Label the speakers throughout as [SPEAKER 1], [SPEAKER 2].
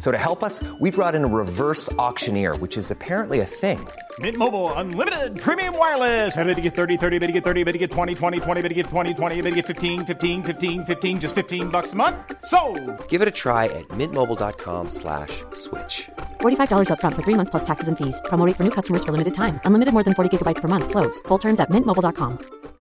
[SPEAKER 1] So to help us, we brought in a reverse auctioneer, which is apparently a thing.
[SPEAKER 2] Mint Mobile unlimited premium wireless. Ready to get 30, 30, bit to get 30, bit to get 20, 20, 20, bit to get 20, 20, bit to get 15, 15, 15, 15 just 15 bucks a month. So,
[SPEAKER 1] Give it a try at mintmobile.com slash switch.
[SPEAKER 3] $45 up front for three months plus taxes and fees. Promo rate for new customers for limited time. Unlimited more than 40 gigabytes per month. Slows. Full terms at mintmobile.com.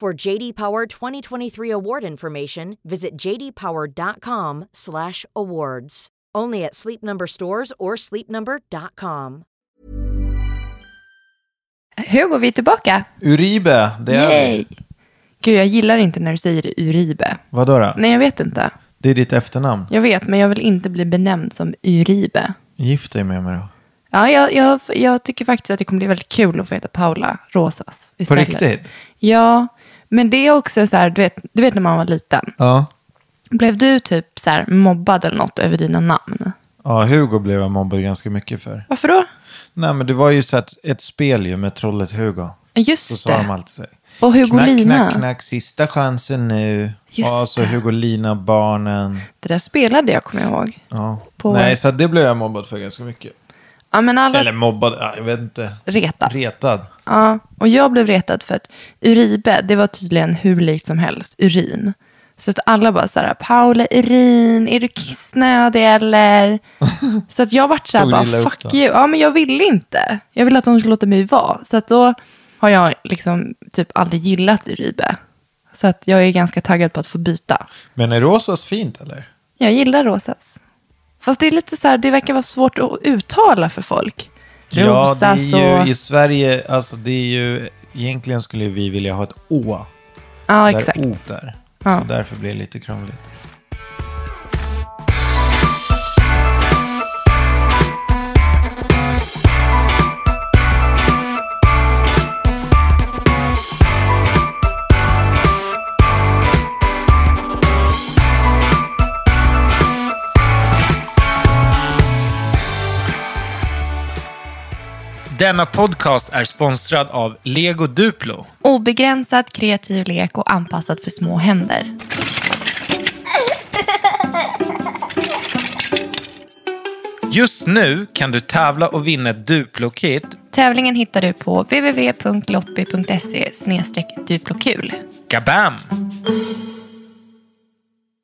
[SPEAKER 4] For JD Power 2023 award information, visit jdpower.com/awards. Only at Sleep Number stores or sleepnumber.com.
[SPEAKER 5] Hugo, vi är tillbaka.
[SPEAKER 6] Uribe, det är vi.
[SPEAKER 5] Yay. Gud, jag gillar inte när du säger Uribe.
[SPEAKER 6] Vadå då?
[SPEAKER 5] Nej, jag vet inte.
[SPEAKER 6] Det är ditt efternamn.
[SPEAKER 5] Jag vet, men jag vill inte bli benämnd som Uribe.
[SPEAKER 6] Gift dig med mig då.
[SPEAKER 5] Ja, jag, jag, jag tycker faktiskt att det kommer bli väldigt kul att få heta Paula Rosas istället.
[SPEAKER 6] riktigt?
[SPEAKER 5] Ja, men det är också så här, du vet, du vet när man var liten.
[SPEAKER 6] Ja.
[SPEAKER 5] Blev du typ så här mobbad eller något över dina namn?
[SPEAKER 6] Ja, Hugo blev jag mobbad ganska mycket för.
[SPEAKER 5] Varför då?
[SPEAKER 6] Nej, men det var ju så att ett spel ju med trollet Hugo. Så
[SPEAKER 5] Just
[SPEAKER 6] sa de
[SPEAKER 5] det.
[SPEAKER 6] alltid så. här,
[SPEAKER 5] Och Hugolina.
[SPEAKER 6] Knack, knack, knack, sista chansen nu.
[SPEAKER 5] Just
[SPEAKER 6] ja, så
[SPEAKER 5] det.
[SPEAKER 6] Hugolina, barnen.
[SPEAKER 5] Det där spelade jag, kommer jag ihåg.
[SPEAKER 6] Ja.
[SPEAKER 5] På-
[SPEAKER 6] Nej, så att det blev jag mobbad för ganska mycket.
[SPEAKER 5] Ja, men alla
[SPEAKER 6] Eller mobbad, ja, jag vet inte.
[SPEAKER 5] retad.
[SPEAKER 6] Retad.
[SPEAKER 5] Ja, och jag blev retad för att Uribe, det var tydligen hur likt som helst urin. Så att alla bara så här, Paula Urin, är du kissnödig eller? Så att jag vart så här
[SPEAKER 6] Tog
[SPEAKER 5] bara,
[SPEAKER 6] illa upp
[SPEAKER 5] fuck
[SPEAKER 6] då."
[SPEAKER 5] you. Ja, men jag ville inte. Jag ville att de skulle låta mig vara. Så att då har jag liksom typ aldrig gillat Uribe. Så att jag är ganska taggad på att få byta.
[SPEAKER 6] Men är Rosas fint eller?
[SPEAKER 5] Jag gillar Rosas. Fast det är lite så här, det verkar vara svårt att uttala för folk.
[SPEAKER 6] Ja, det
[SPEAKER 5] Rosas
[SPEAKER 6] är
[SPEAKER 5] och...
[SPEAKER 6] ju i Sverige, alltså det är ju, egentligen skulle vi vilja ha ett Å.
[SPEAKER 5] Ja,
[SPEAKER 6] där
[SPEAKER 5] exakt.
[SPEAKER 6] O där.
[SPEAKER 5] Ja.
[SPEAKER 6] Så därför blir det lite krångligt. Denna podcast är sponsrad av Lego Duplo.
[SPEAKER 5] Obegränsad kreativ lek och anpassad för små händer.
[SPEAKER 6] Just nu kan du tävla och vinna ett Duplo-kit.
[SPEAKER 5] Tävlingen hittar du på www.loppy.se duplokul.
[SPEAKER 6] Gabam!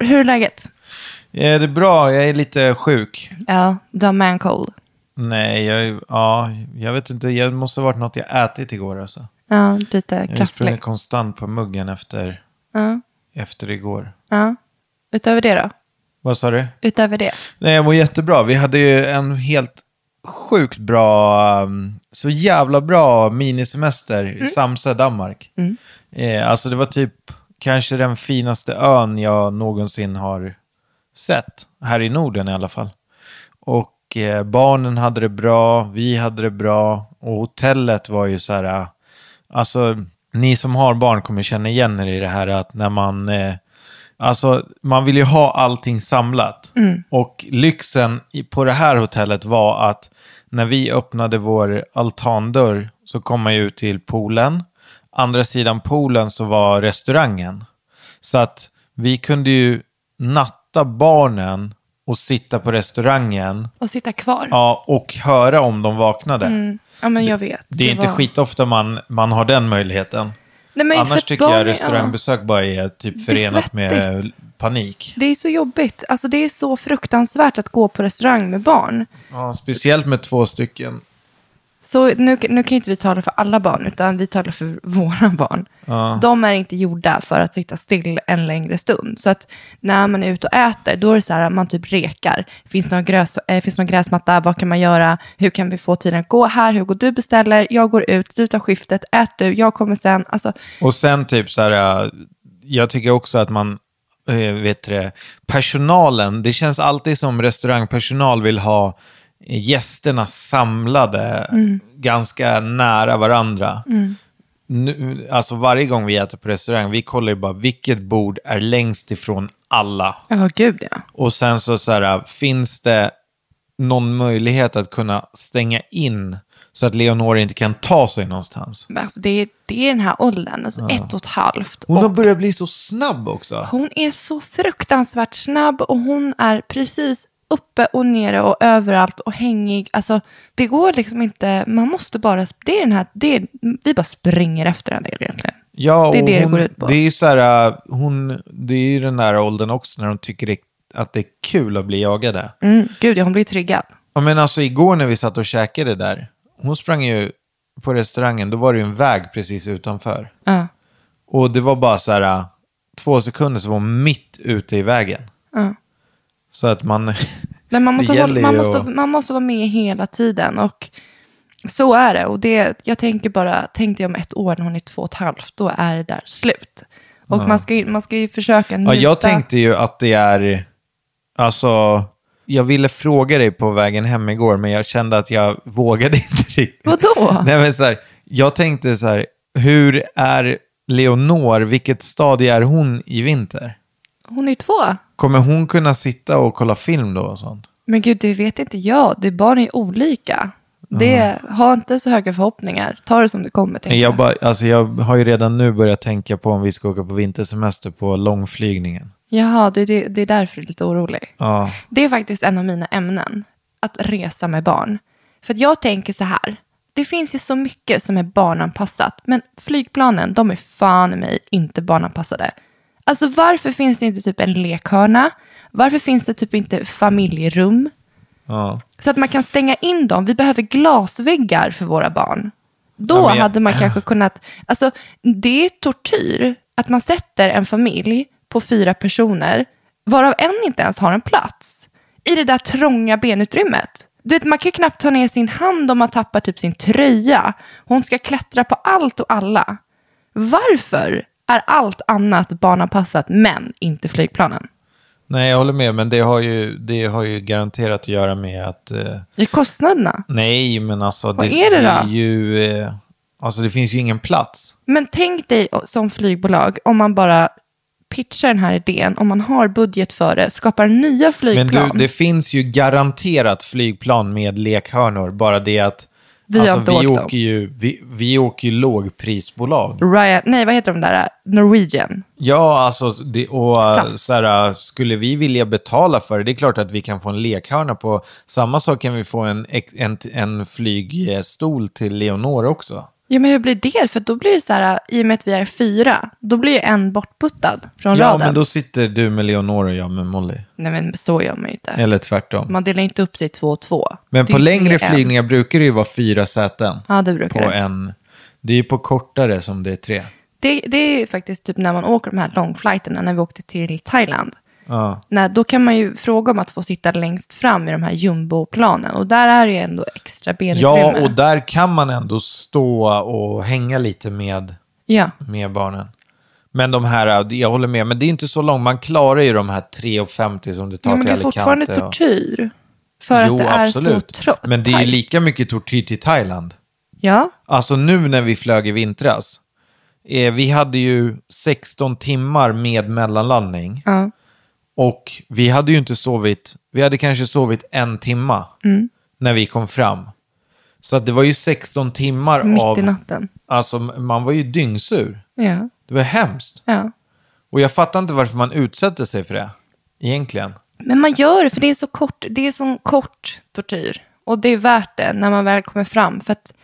[SPEAKER 5] Hur är läget?
[SPEAKER 6] Är det bra? Jag är lite sjuk.
[SPEAKER 5] Ja, du har mancold.
[SPEAKER 6] Nej, jag, ja, jag vet inte. Jag måste ha varit något jag ätit igår alltså.
[SPEAKER 5] Ja, lite
[SPEAKER 6] Jag sprang
[SPEAKER 5] krasslig.
[SPEAKER 6] konstant på muggen efter,
[SPEAKER 5] Ja,
[SPEAKER 6] efter igår.
[SPEAKER 5] ja. Utöver det då?
[SPEAKER 6] Vad sa du?
[SPEAKER 5] Utöver det?
[SPEAKER 6] Nej, jag mår jättebra. Vi hade ju en helt sjukt bra, um, så jävla bra minisemester i Samsö, Danmark. Eh, alltså det var typ kanske den finaste ön jag någonsin har sett, här i Norden i alla fall. Och eh, barnen hade det bra, vi hade det bra och hotellet var ju så här, eh, alltså ni som har barn kommer känna igen er i det här att när man eh, Alltså, man vill ju ha allting samlat. Och lyxen i- på det här hotellet var att när vi öppnade vår altandörr så kom man ju ut till poolen. Andra sidan poolen så var restaurangen. Så att vi kunde ju natta barnen och sitta på restaurangen
[SPEAKER 5] Och sitta kvar?
[SPEAKER 6] ja, och höra om de vaknade.
[SPEAKER 5] Ja, men jag vet.
[SPEAKER 6] Det är inte
[SPEAKER 5] Mm. var-
[SPEAKER 6] skitofta man, man har den möjligheten.
[SPEAKER 5] Nej, men för
[SPEAKER 6] Annars
[SPEAKER 5] att
[SPEAKER 6] tycker
[SPEAKER 5] barn är-
[SPEAKER 6] jag restaurangbesök bara är
[SPEAKER 5] Det är
[SPEAKER 6] typ förenat med
[SPEAKER 5] svettigt.
[SPEAKER 6] panik.
[SPEAKER 5] Ja, det är så jobbigt. Alltså det är så fruktansvärt att gå på restaurang med barn.
[SPEAKER 6] Ja, speciellt med två stycken.
[SPEAKER 5] Så nu, nu kan ju inte vi tala för alla barn, utan vi talar för våra barn. De är inte gjorda för att sitta still en längre stund. Så att när man är ute och äter, då är det så här, man typ rekar. Finns det någon, gräs, eh, finns det någon gräsmatta? Vad kan man göra? Hur kan vi få tiden att gå? Här, Hugo, du beställer, jag går ut, du tar skiftet, ät du, jag kommer sen. Alltså,
[SPEAKER 6] Och sen typ så här, äh, jag tycker också att man, äh, vet du det, personalen, det känns alltid som restaurangpersonal vill ha gästerna samlade ganska nära varandra. Nu, alltså varje gång vi äter på restaurang, vi kollar ju bara vilket bord är längst ifrån alla.
[SPEAKER 5] ja, gud ja.
[SPEAKER 6] Och sen så, så här, äh, finns det någon möjlighet att kunna stänga in så att Leonor inte kan ta sig någonstans?
[SPEAKER 5] Men Alltså, det, är, det är den här åldern, alltså ett och ett halvt.
[SPEAKER 6] Hon har
[SPEAKER 5] och
[SPEAKER 6] börjat bli så snabb också.
[SPEAKER 5] hon är så fruktansvärt snabb och hon är precis uppe och nere och överallt och hängig. Alltså, det går liksom inte, man måste bara, det är den här, det är, vi bara springer efter henne egentligen.
[SPEAKER 6] Ja,
[SPEAKER 5] Det är
[SPEAKER 6] och
[SPEAKER 5] det det
[SPEAKER 6] hon,
[SPEAKER 5] går ut på.
[SPEAKER 6] Det är ju så här, äh, hon, det är ju den där åldern också när de tycker det, att det är kul att bli jagade.
[SPEAKER 5] Mm, gud, ja, hon blir triggad.
[SPEAKER 6] Ja, men alltså igår när vi satt och käkade där, hon sprang ju på restaurangen, då var det ju en väg precis utanför.
[SPEAKER 5] Ja.
[SPEAKER 6] Och det var bara så här, äh, två sekunder så var hon mitt ute i vägen.
[SPEAKER 5] Ja.
[SPEAKER 6] Så att man...
[SPEAKER 5] Nej, man, måste
[SPEAKER 6] Det
[SPEAKER 5] hålla,
[SPEAKER 6] gäller
[SPEAKER 5] man,
[SPEAKER 6] ju
[SPEAKER 5] måste,
[SPEAKER 6] att-
[SPEAKER 5] man måste vara med hela tiden. Och så är det. Och det, jag tänker bara, tänkte jag om ett år när hon är två och ett halvt, då är det där slut. Och man, ska ju, man ska ju försöka
[SPEAKER 6] Ja,
[SPEAKER 5] njuta.
[SPEAKER 6] jag tänkte ju att det är... Alltså, jag ville fråga dig på vägen hem igår, men jag kände att jag vågade inte riktigt.
[SPEAKER 5] Vadå?
[SPEAKER 6] Nej, men så här, jag tänkte så här, hur är Leonor, vilket stadie är hon i vinter?
[SPEAKER 5] Hon är ju två.
[SPEAKER 6] Kommer hon kunna sitta och kolla film då och sånt?
[SPEAKER 5] Men gud, det vet inte jag. Det barn är olika. Det, Ha inte så höga förhoppningar. Ta det som det kommer. tänker
[SPEAKER 6] Nej, Jag, bara, alltså jag har ju redan nu börjat tänka på om vi ska åka på vintersemester på långflygningen.
[SPEAKER 5] Jaha, det, det, det är därför du är lite orolig.
[SPEAKER 6] Ja,
[SPEAKER 5] Det är faktiskt en av mina ämnen, att resa med barn. För att jag tänker så här, det finns ju så mycket som är barnanpassat, men flygplanen, de är fan i mig inte barnanpassade. Alltså varför finns det inte typ en lekhörna? Varför finns det typ inte familjerum?
[SPEAKER 6] ja.
[SPEAKER 5] Så att man kan stänga in dem. Vi behöver glasväggar för våra barn. Då
[SPEAKER 6] Ja, men jag-
[SPEAKER 5] hade man kanske kunnat... Alltså, det är tortyr att man sätter en familj på fyra personer, varav en inte ens har en plats, i det där trånga benutrymmet. Du vet, man kan ju knappt ta ner sin hand om man tappar typ sin tröja. Hon ska klättra på allt och alla. Varför är allt annat barnanpassat, men inte flygplanen?
[SPEAKER 6] Nej, jag håller med, men det har ju, det har ju garanterat att göra med att eh,
[SPEAKER 5] Det är kostnaderna.
[SPEAKER 6] Nej, men alltså
[SPEAKER 5] Vad är det då?
[SPEAKER 6] ju... eh, Alltså det finns ju ingen plats.
[SPEAKER 5] Men tänk dig som flygbolag om man bara pitchar den här idén, om man har budget för det, skapar nya
[SPEAKER 6] Men
[SPEAKER 5] flygplan.
[SPEAKER 6] du, det finns ju garanterat flygplan med lekhörnor, bara det att...
[SPEAKER 5] Vi har inte
[SPEAKER 6] alltså, vi,
[SPEAKER 5] åkt dem.
[SPEAKER 6] åker ju, vi, vi åker ju lågprisbolag.
[SPEAKER 5] Ryan, nej, vad heter de där? Norwegian.
[SPEAKER 6] Ja, alltså, det, och eh,
[SPEAKER 5] SAS.
[SPEAKER 6] så här, eh, skulle vi vilja betala för det, det är klart att vi kan få en lekhörna på... Samma sak kan vi få en, ex- en, en flygstol till Leonor också.
[SPEAKER 5] Ja, men hur blir det? För då blir det så här, i och med att vi är fyra, då blir ju en bortputtad från
[SPEAKER 6] Ja,
[SPEAKER 5] raden.
[SPEAKER 6] men då sitter du med Leonor och jag med Molly.
[SPEAKER 5] Nej, men så gör man ju inte.
[SPEAKER 6] Eller tvärtom.
[SPEAKER 5] Man delar inte upp sig i två och två.
[SPEAKER 6] Men
[SPEAKER 5] Det är
[SPEAKER 6] på
[SPEAKER 5] ju
[SPEAKER 6] längre
[SPEAKER 5] tre en.
[SPEAKER 6] flygningar brukar det ju vara fyra säten.
[SPEAKER 5] Ja, det brukar
[SPEAKER 6] på
[SPEAKER 5] det.
[SPEAKER 6] en. Det är ju på kortare som det är tre.
[SPEAKER 5] Det, det är ju faktiskt typ när man åker de här långflighterna, när vi åkte till Thailand.
[SPEAKER 6] Ja.
[SPEAKER 5] Nej, då kan man ju fråga om att få sitta längst fram i de här jumboplanen. Och där är det ju ändå extra benutrymme.
[SPEAKER 6] Ja, och där kan man ändå stå och hänga lite med,
[SPEAKER 5] Ja,
[SPEAKER 6] med barnen. Men de här, jag håller med, men det är inte så långt. Man klarar ju de här 3,50 som det tar
[SPEAKER 5] men det
[SPEAKER 6] till
[SPEAKER 5] är
[SPEAKER 6] Alicante.
[SPEAKER 5] fortfarande
[SPEAKER 6] och-
[SPEAKER 5] tortyr. För
[SPEAKER 6] Jo,
[SPEAKER 5] att det är
[SPEAKER 6] absolut.
[SPEAKER 5] så trångt.
[SPEAKER 6] Men det är ju lika mycket tortyr till Thailand.
[SPEAKER 5] Ja,
[SPEAKER 6] Alltså nu när vi flög i vintras. Eh, vi hade ju 16 timmar med mellanlandning.
[SPEAKER 5] ja.
[SPEAKER 6] Och vi hade ju inte sovit, vi hade kanske sovit en timma
[SPEAKER 5] Mm.
[SPEAKER 6] när vi kom fram. Så att det var ju 16 timmar
[SPEAKER 5] mitt
[SPEAKER 6] av...
[SPEAKER 5] i natten.
[SPEAKER 6] Alltså man var ju dyngsur.
[SPEAKER 5] Ja,
[SPEAKER 6] Det var hemskt.
[SPEAKER 5] ja.
[SPEAKER 6] Och jag fattar inte varför man utsätter sig för det, egentligen.
[SPEAKER 5] Men man gör det för det är så kort, det är så kort tortyr. Och det är värt det när man väl kommer fram. För att,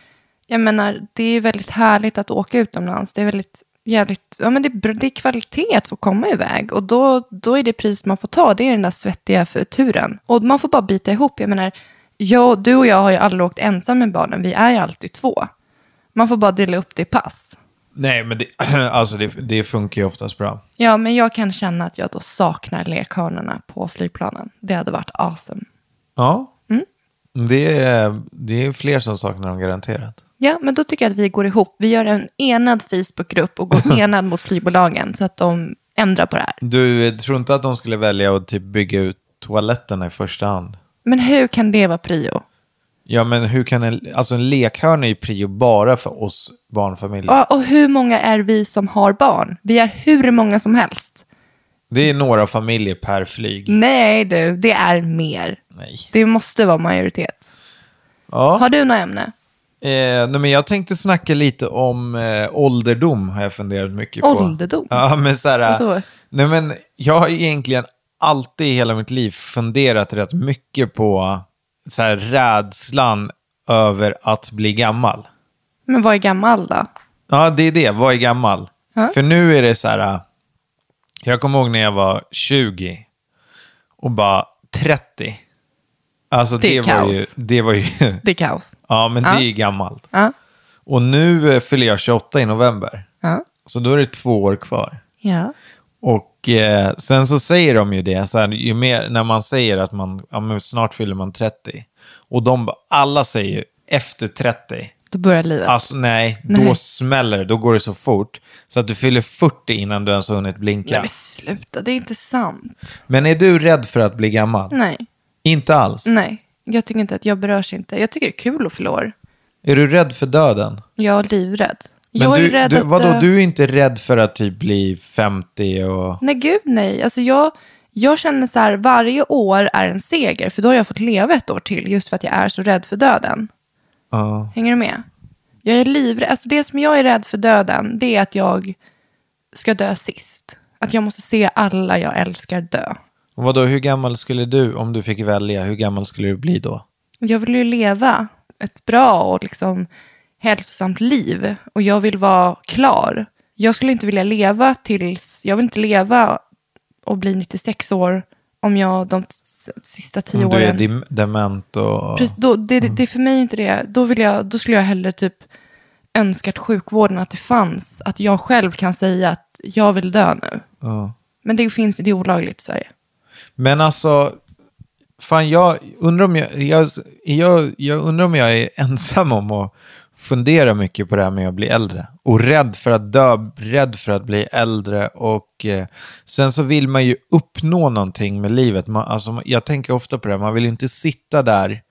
[SPEAKER 5] jag menar, det är väldigt härligt att åka utomlands. Det är väldigt, jävligt, ja men det är, br- det är kvalitet att få komma iväg. Och då, då är det pris man får ta, det är den där svettiga för turen. Och man får bara bita ihop, jag menar, Jag, du och jag har ju aldrig åkt ensam med barnen. Vi är ju alltid två. Man får bara dela upp det i pass.
[SPEAKER 6] Nej, men det, alltså det, det funkar ju oftast bra.
[SPEAKER 5] Ja, men jag kan känna att jag då saknar lekhanorna på flygplanen. Det hade varit awesome.
[SPEAKER 6] Ja. Det, är, det är fler som saknar dem garanterat.
[SPEAKER 5] Ja, men då tycker jag att vi går ihop. Vi gör en enad Facebookgrupp och går enad mot flygbolagen så att de ändrar på det här.
[SPEAKER 6] Du eh, tror inte att de skulle välja att typ bygga ut toaletterna i första hand?
[SPEAKER 5] Men hur kan det vara prio?
[SPEAKER 6] Ja, men hur kan en, alltså en lekhörna är ju prio bara för oss barnfamiljer.
[SPEAKER 5] Ja, och hur många är vi som har barn? Vi är hur många som helst.
[SPEAKER 6] Det är några familjer per flyg.
[SPEAKER 5] Mm. Nej du, det är mer.
[SPEAKER 6] Nej.
[SPEAKER 5] Det måste vara majoritet.
[SPEAKER 6] Ja.
[SPEAKER 5] Har du något ämne?
[SPEAKER 6] Eh, nej, men jag tänkte snacka lite om eh, ålderdom, har jag funderat mycket
[SPEAKER 5] Ålderdom?
[SPEAKER 6] på. Ja, men så här,
[SPEAKER 5] Vadå?
[SPEAKER 6] nej, men jag har egentligen alltid i hela mitt liv funderat rätt mycket på så här, rädslan över att bli gammal.
[SPEAKER 5] Men vad är gammal då?
[SPEAKER 6] Ja, det är det. Vad är gammal? För nu är det så här, jag kommer ihåg när jag var 20 och bara 30. Alltså
[SPEAKER 5] Det
[SPEAKER 6] det,
[SPEAKER 5] är
[SPEAKER 6] var ju,
[SPEAKER 5] kaos.
[SPEAKER 6] det var ju,
[SPEAKER 5] Det är kaos.
[SPEAKER 6] ja men
[SPEAKER 5] Ja.
[SPEAKER 6] det är gammalt.
[SPEAKER 5] Ja.
[SPEAKER 6] Och nu eh, fyller jag 28 i november.
[SPEAKER 5] Ja.
[SPEAKER 6] Så då är det två år kvar.
[SPEAKER 5] Ja.
[SPEAKER 6] Och eh, sen så säger de ju det, så här, ju mer, när man säger att man ja, men snart fyller man 30. Och de bara- alla säger ju efter 30.
[SPEAKER 5] Då börjar livet.
[SPEAKER 6] Alltså nej,
[SPEAKER 5] Nej.
[SPEAKER 6] då smäller det, då går det så fort. Så att du fyller 40 innan du ens har hunnit blinka.
[SPEAKER 5] Nej men sluta, det är inte sant.
[SPEAKER 6] Men är du rädd för att bli gammal?
[SPEAKER 5] Nej,
[SPEAKER 6] Inte alls.
[SPEAKER 5] nej. Jag tycker inte att jag berörs inte. Jag tycker det är kul att förlora. år.
[SPEAKER 6] Är du rädd för döden?
[SPEAKER 5] Jag är livrädd.
[SPEAKER 6] Men
[SPEAKER 5] jag
[SPEAKER 6] du,
[SPEAKER 5] är rädd
[SPEAKER 6] du,
[SPEAKER 5] att
[SPEAKER 6] vadå,
[SPEAKER 5] dö.
[SPEAKER 6] du är inte rädd för att typ bli 50 och...
[SPEAKER 5] Nej, gud nej. Alltså jag, jag känner så här, varje år är en seger. För då har jag fått leva ett år till just för att jag är så rädd för döden.
[SPEAKER 6] Ja.
[SPEAKER 5] Hänger du med? Jag är livrädd. Alltså det som jag är rädd för döden, det är att jag ska dö sist. Att jag måste se alla jag älskar dö.
[SPEAKER 6] Och Vadå, hur gammal skulle du, om du fick välja, hur gammal skulle du bli då?
[SPEAKER 5] Jag vill ju leva ett bra och liksom hälsosamt liv. Och jag vill vara klar. Jag skulle inte vilja leva tills... Jag vill inte leva och bli 96 år om jag de s- sista tio
[SPEAKER 6] Om du är Mm.
[SPEAKER 5] åren...
[SPEAKER 6] dem- dement och...
[SPEAKER 5] Precis, då, det, det, det är för mig inte det. Då, vill jag, då skulle jag hellre typ önskat sjukvården att det fanns. Att jag själv kan säga att jag vill dö nu.
[SPEAKER 6] Ja.
[SPEAKER 5] Men det finns det är olagligt i Sverige.
[SPEAKER 6] Men alltså, fan jag undrar om jag, jag, jag, jag, undrar om jag är ensam om att fundera mycket på det här med att bli äldre. Och rädd för att dö, rädd för att bli äldre. Och eh, sen så vill man ju uppnå någonting med livet. Man, alltså, jag tänker ofta på det, här, man vill ju inte sitta där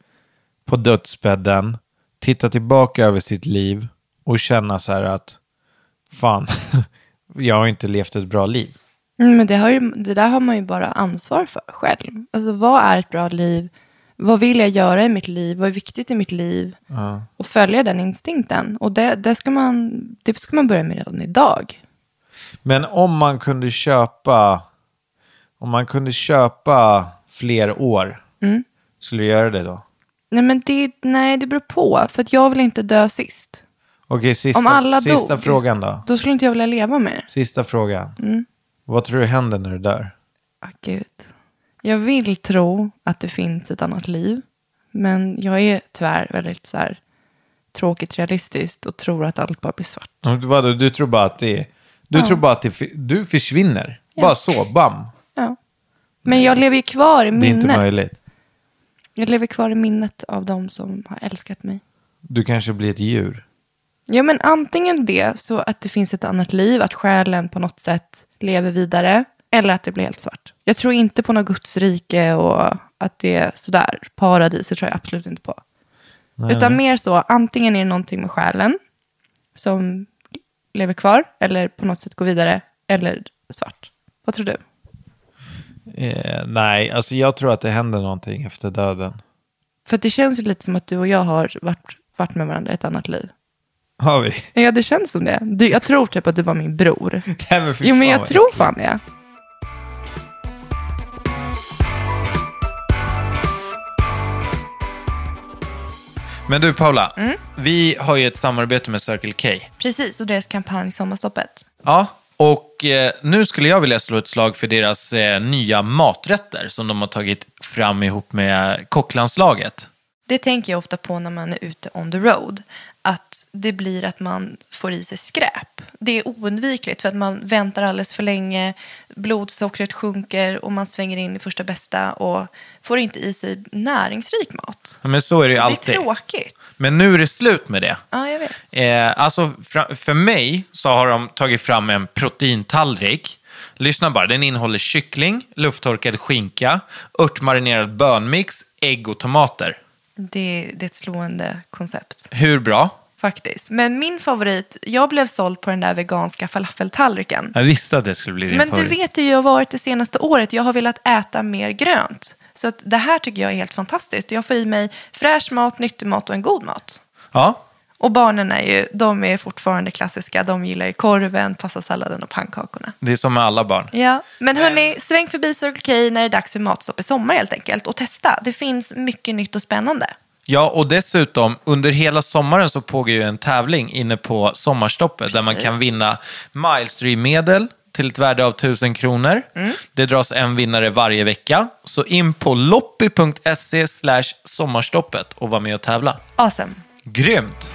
[SPEAKER 6] på dödsbädden, titta tillbaka över sitt liv och känna så här att fan, jag har inte levt ett bra liv.
[SPEAKER 5] Mm, Men det, har ju, det där har man ju bara ansvar för själv. Alltså vad är ett bra liv? Vad vill jag göra i mitt liv? Vad är viktigt i mitt liv? Och följa den instinkten. Och det, det, ska man, det ska man börja med redan idag.
[SPEAKER 6] Men om man kunde köpa om man kunde köpa fler år,
[SPEAKER 5] Mm.
[SPEAKER 6] skulle du göra det då?
[SPEAKER 5] Nej, men det, nej, det beror på. För att jag vill inte dö sist.
[SPEAKER 6] Okej, sista,
[SPEAKER 5] Om alla
[SPEAKER 6] sista
[SPEAKER 5] dog.
[SPEAKER 6] frågan då.
[SPEAKER 5] Då skulle inte jag vilja leva mer.
[SPEAKER 6] Sista frågan.
[SPEAKER 5] Mm.
[SPEAKER 6] Vad tror du händer när du dör?
[SPEAKER 5] Ah, Gud. Jag vill tro att det finns ett annat liv. Men jag är tyvärr väldigt så här, tråkigt realistiskt och tror att allt bara blir svart.
[SPEAKER 6] Om du- Vadå, du tror bara att det är... Du tror bara att det, fi- du försvinner. Bara så, bam.
[SPEAKER 5] Ja. Men jag lever ju kvar i
[SPEAKER 6] Det är inte
[SPEAKER 5] minnet.
[SPEAKER 6] möjligt.
[SPEAKER 5] Jag lever kvar i minnet av de som har älskat mig.
[SPEAKER 6] Du kanske blir ett djur.
[SPEAKER 5] Ja, men antingen det, så att det finns ett annat liv, att själen på något sätt lever vidare, eller att det blir helt svart. Jag tror inte på något gudsrike och att det är sådär, paradis, det tror jag absolut inte på. Utan mer så, antingen är det någonting med själen som lever kvar, eller på något sätt går vidare, eller svart. Vad tror du?
[SPEAKER 6] Eh, nej, alltså jag tror att det händer någonting efter döden.
[SPEAKER 5] För att det känns ju lite som att du och jag har varit, varit med varandra i ett annat liv.
[SPEAKER 6] Har vi?
[SPEAKER 5] Ja, det känns som det. Du, jag tror typ att du var min bror.
[SPEAKER 6] Nej, men fy
[SPEAKER 5] Jo, men
[SPEAKER 6] fan
[SPEAKER 5] jag
[SPEAKER 6] vad
[SPEAKER 5] tror fan det.
[SPEAKER 6] Men du Paula,
[SPEAKER 5] Mm.
[SPEAKER 6] vi har ju ett samarbete med Circle K.
[SPEAKER 5] Precis, och deras kampanj Sommarstoppet.
[SPEAKER 6] Ja, och eh, nu skulle jag vilja slå ett slag för deras eh, nya maträtter som de har tagit fram ihop med kocklandslaget.
[SPEAKER 5] Det tänker jag ofta på när man är ute on the road. Att det blir att man får i sig skräp. Det är oundvikligt för att man väntar alldeles för länge. Blodsockret sjunker och man svänger in i första bästa och får inte i sig näringsrik mat.
[SPEAKER 6] Ja, Men så är det ju alltid.
[SPEAKER 5] Det är tråkigt.
[SPEAKER 6] Men nu är det slut med det.
[SPEAKER 5] Ja, jag vet.
[SPEAKER 6] Eh, alltså, fra- för mig så har de tagit fram en proteintallrik. Lyssna bara, den innehåller kyckling, lufttorkad skinka, örtmarinerad bönmix, ägg och tomater.
[SPEAKER 5] Det, det är ett slående koncept.
[SPEAKER 6] Hur bra?
[SPEAKER 5] Faktiskt. Men min favorit, jag blev såld på den där veganska falafeltallriken.
[SPEAKER 6] Jag visste att det skulle bli din
[SPEAKER 5] Men du
[SPEAKER 6] favorit.
[SPEAKER 5] vet hur jag har varit det senaste året. Jag har velat äta mer grönt. Så att det här tycker jag är helt fantastiskt. Jag får i mig fräsch mat, nyttig mat och en god mat.
[SPEAKER 6] Ja,
[SPEAKER 5] Och barnen är ju, de är fortfarande klassiska. De gillar ju korven, pastasalladen och pannkakorna.
[SPEAKER 6] det är som med alla barn.
[SPEAKER 5] Ja. Men
[SPEAKER 6] Eh.
[SPEAKER 5] hörni, sväng förbi Circle K när det är dags för matstopp i sommar helt enkelt. Och testa. Det finns mycket nytt och spännande.
[SPEAKER 6] Ja, och dessutom under hela sommaren så pågår ju en tävling inne på Sommarstoppet där man kan vinna Milestream-medel till ett värde av 1000 kronor.
[SPEAKER 5] Mm.
[SPEAKER 6] Det dras en vinnare varje vecka. Så in på loppy.se slash sommarstoppet och var med och tävla.
[SPEAKER 5] Awesome.
[SPEAKER 6] Grymt!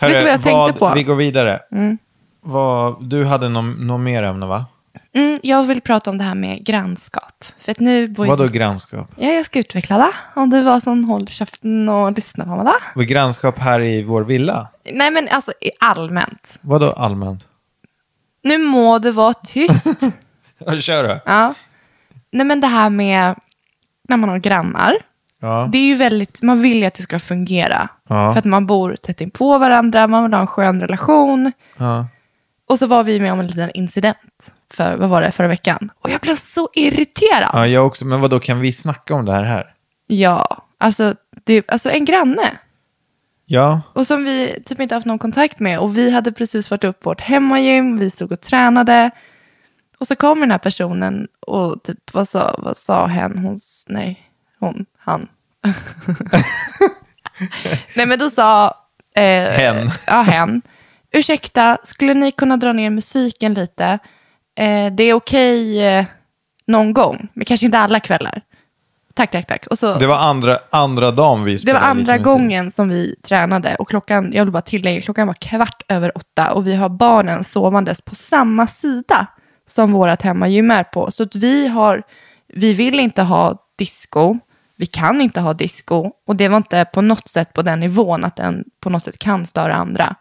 [SPEAKER 5] Vet du vad jag tänkte på?
[SPEAKER 6] Vi går vidare. Vad, du hade någon, någon mer ämne va?
[SPEAKER 5] Mm, jag vill prata om det här med grannskap. För att nu bor
[SPEAKER 6] Vadå grannskap?
[SPEAKER 5] Ja, jag ska utveckla det. Om du var sån håll käften och lyssna på mig då.
[SPEAKER 6] Vad är grannskap här i vår villa?
[SPEAKER 5] Nej, men alltså i- allmänt.
[SPEAKER 6] Vadå allmänt?
[SPEAKER 5] Nu må det vara tyst.
[SPEAKER 6] Ja, Kör du.
[SPEAKER 5] ja. Nej, men det här med när man har grannar.
[SPEAKER 6] Ja.
[SPEAKER 5] Det är ju väldigt, man vill ju att det ska fungera.
[SPEAKER 6] Ja.
[SPEAKER 5] För att man bor tätt inpå varandra, man vill ha en skön relation.
[SPEAKER 6] Ja.
[SPEAKER 5] Och så var vi med om en liten incident för, vad var det, förra veckan. Och jag blev så irriterad.
[SPEAKER 6] Ja, jag också. Men vad då kan vi snacka om det här här?
[SPEAKER 5] Ja, alltså, det, alltså en granne.
[SPEAKER 6] Ja,
[SPEAKER 5] Och som vi typ inte haft någon kontakt med. Och vi hade precis varit upp på vårt hemmagym, vi stod och tränade. Och så kom den här personen och typ, vad sa, vad sa hen? Hon, s- nej, hon, han. nej men då sa... Eh,
[SPEAKER 6] Hen.
[SPEAKER 5] Ja, hen. Ursäkta, skulle ni kunna dra ner musiken lite? Eh, det är okej eh, någon gång, men kanske inte alla kvällar. Tack, tack, tack. Och så,
[SPEAKER 6] det var andra, andra dagen vi
[SPEAKER 5] det var
[SPEAKER 6] spelade lite
[SPEAKER 5] andra
[SPEAKER 6] musik.
[SPEAKER 5] gången som vi tränade och klockan, jag vill bara tillägga, klockan var kvart över åtta och vi har barnen sovandes på samma sida som vårt hemmagym är på. Så att vi har, vi vill inte ha disco, vi kan inte ha disco och det var inte på något sätt på den nivån att den på något sätt kan störa andra.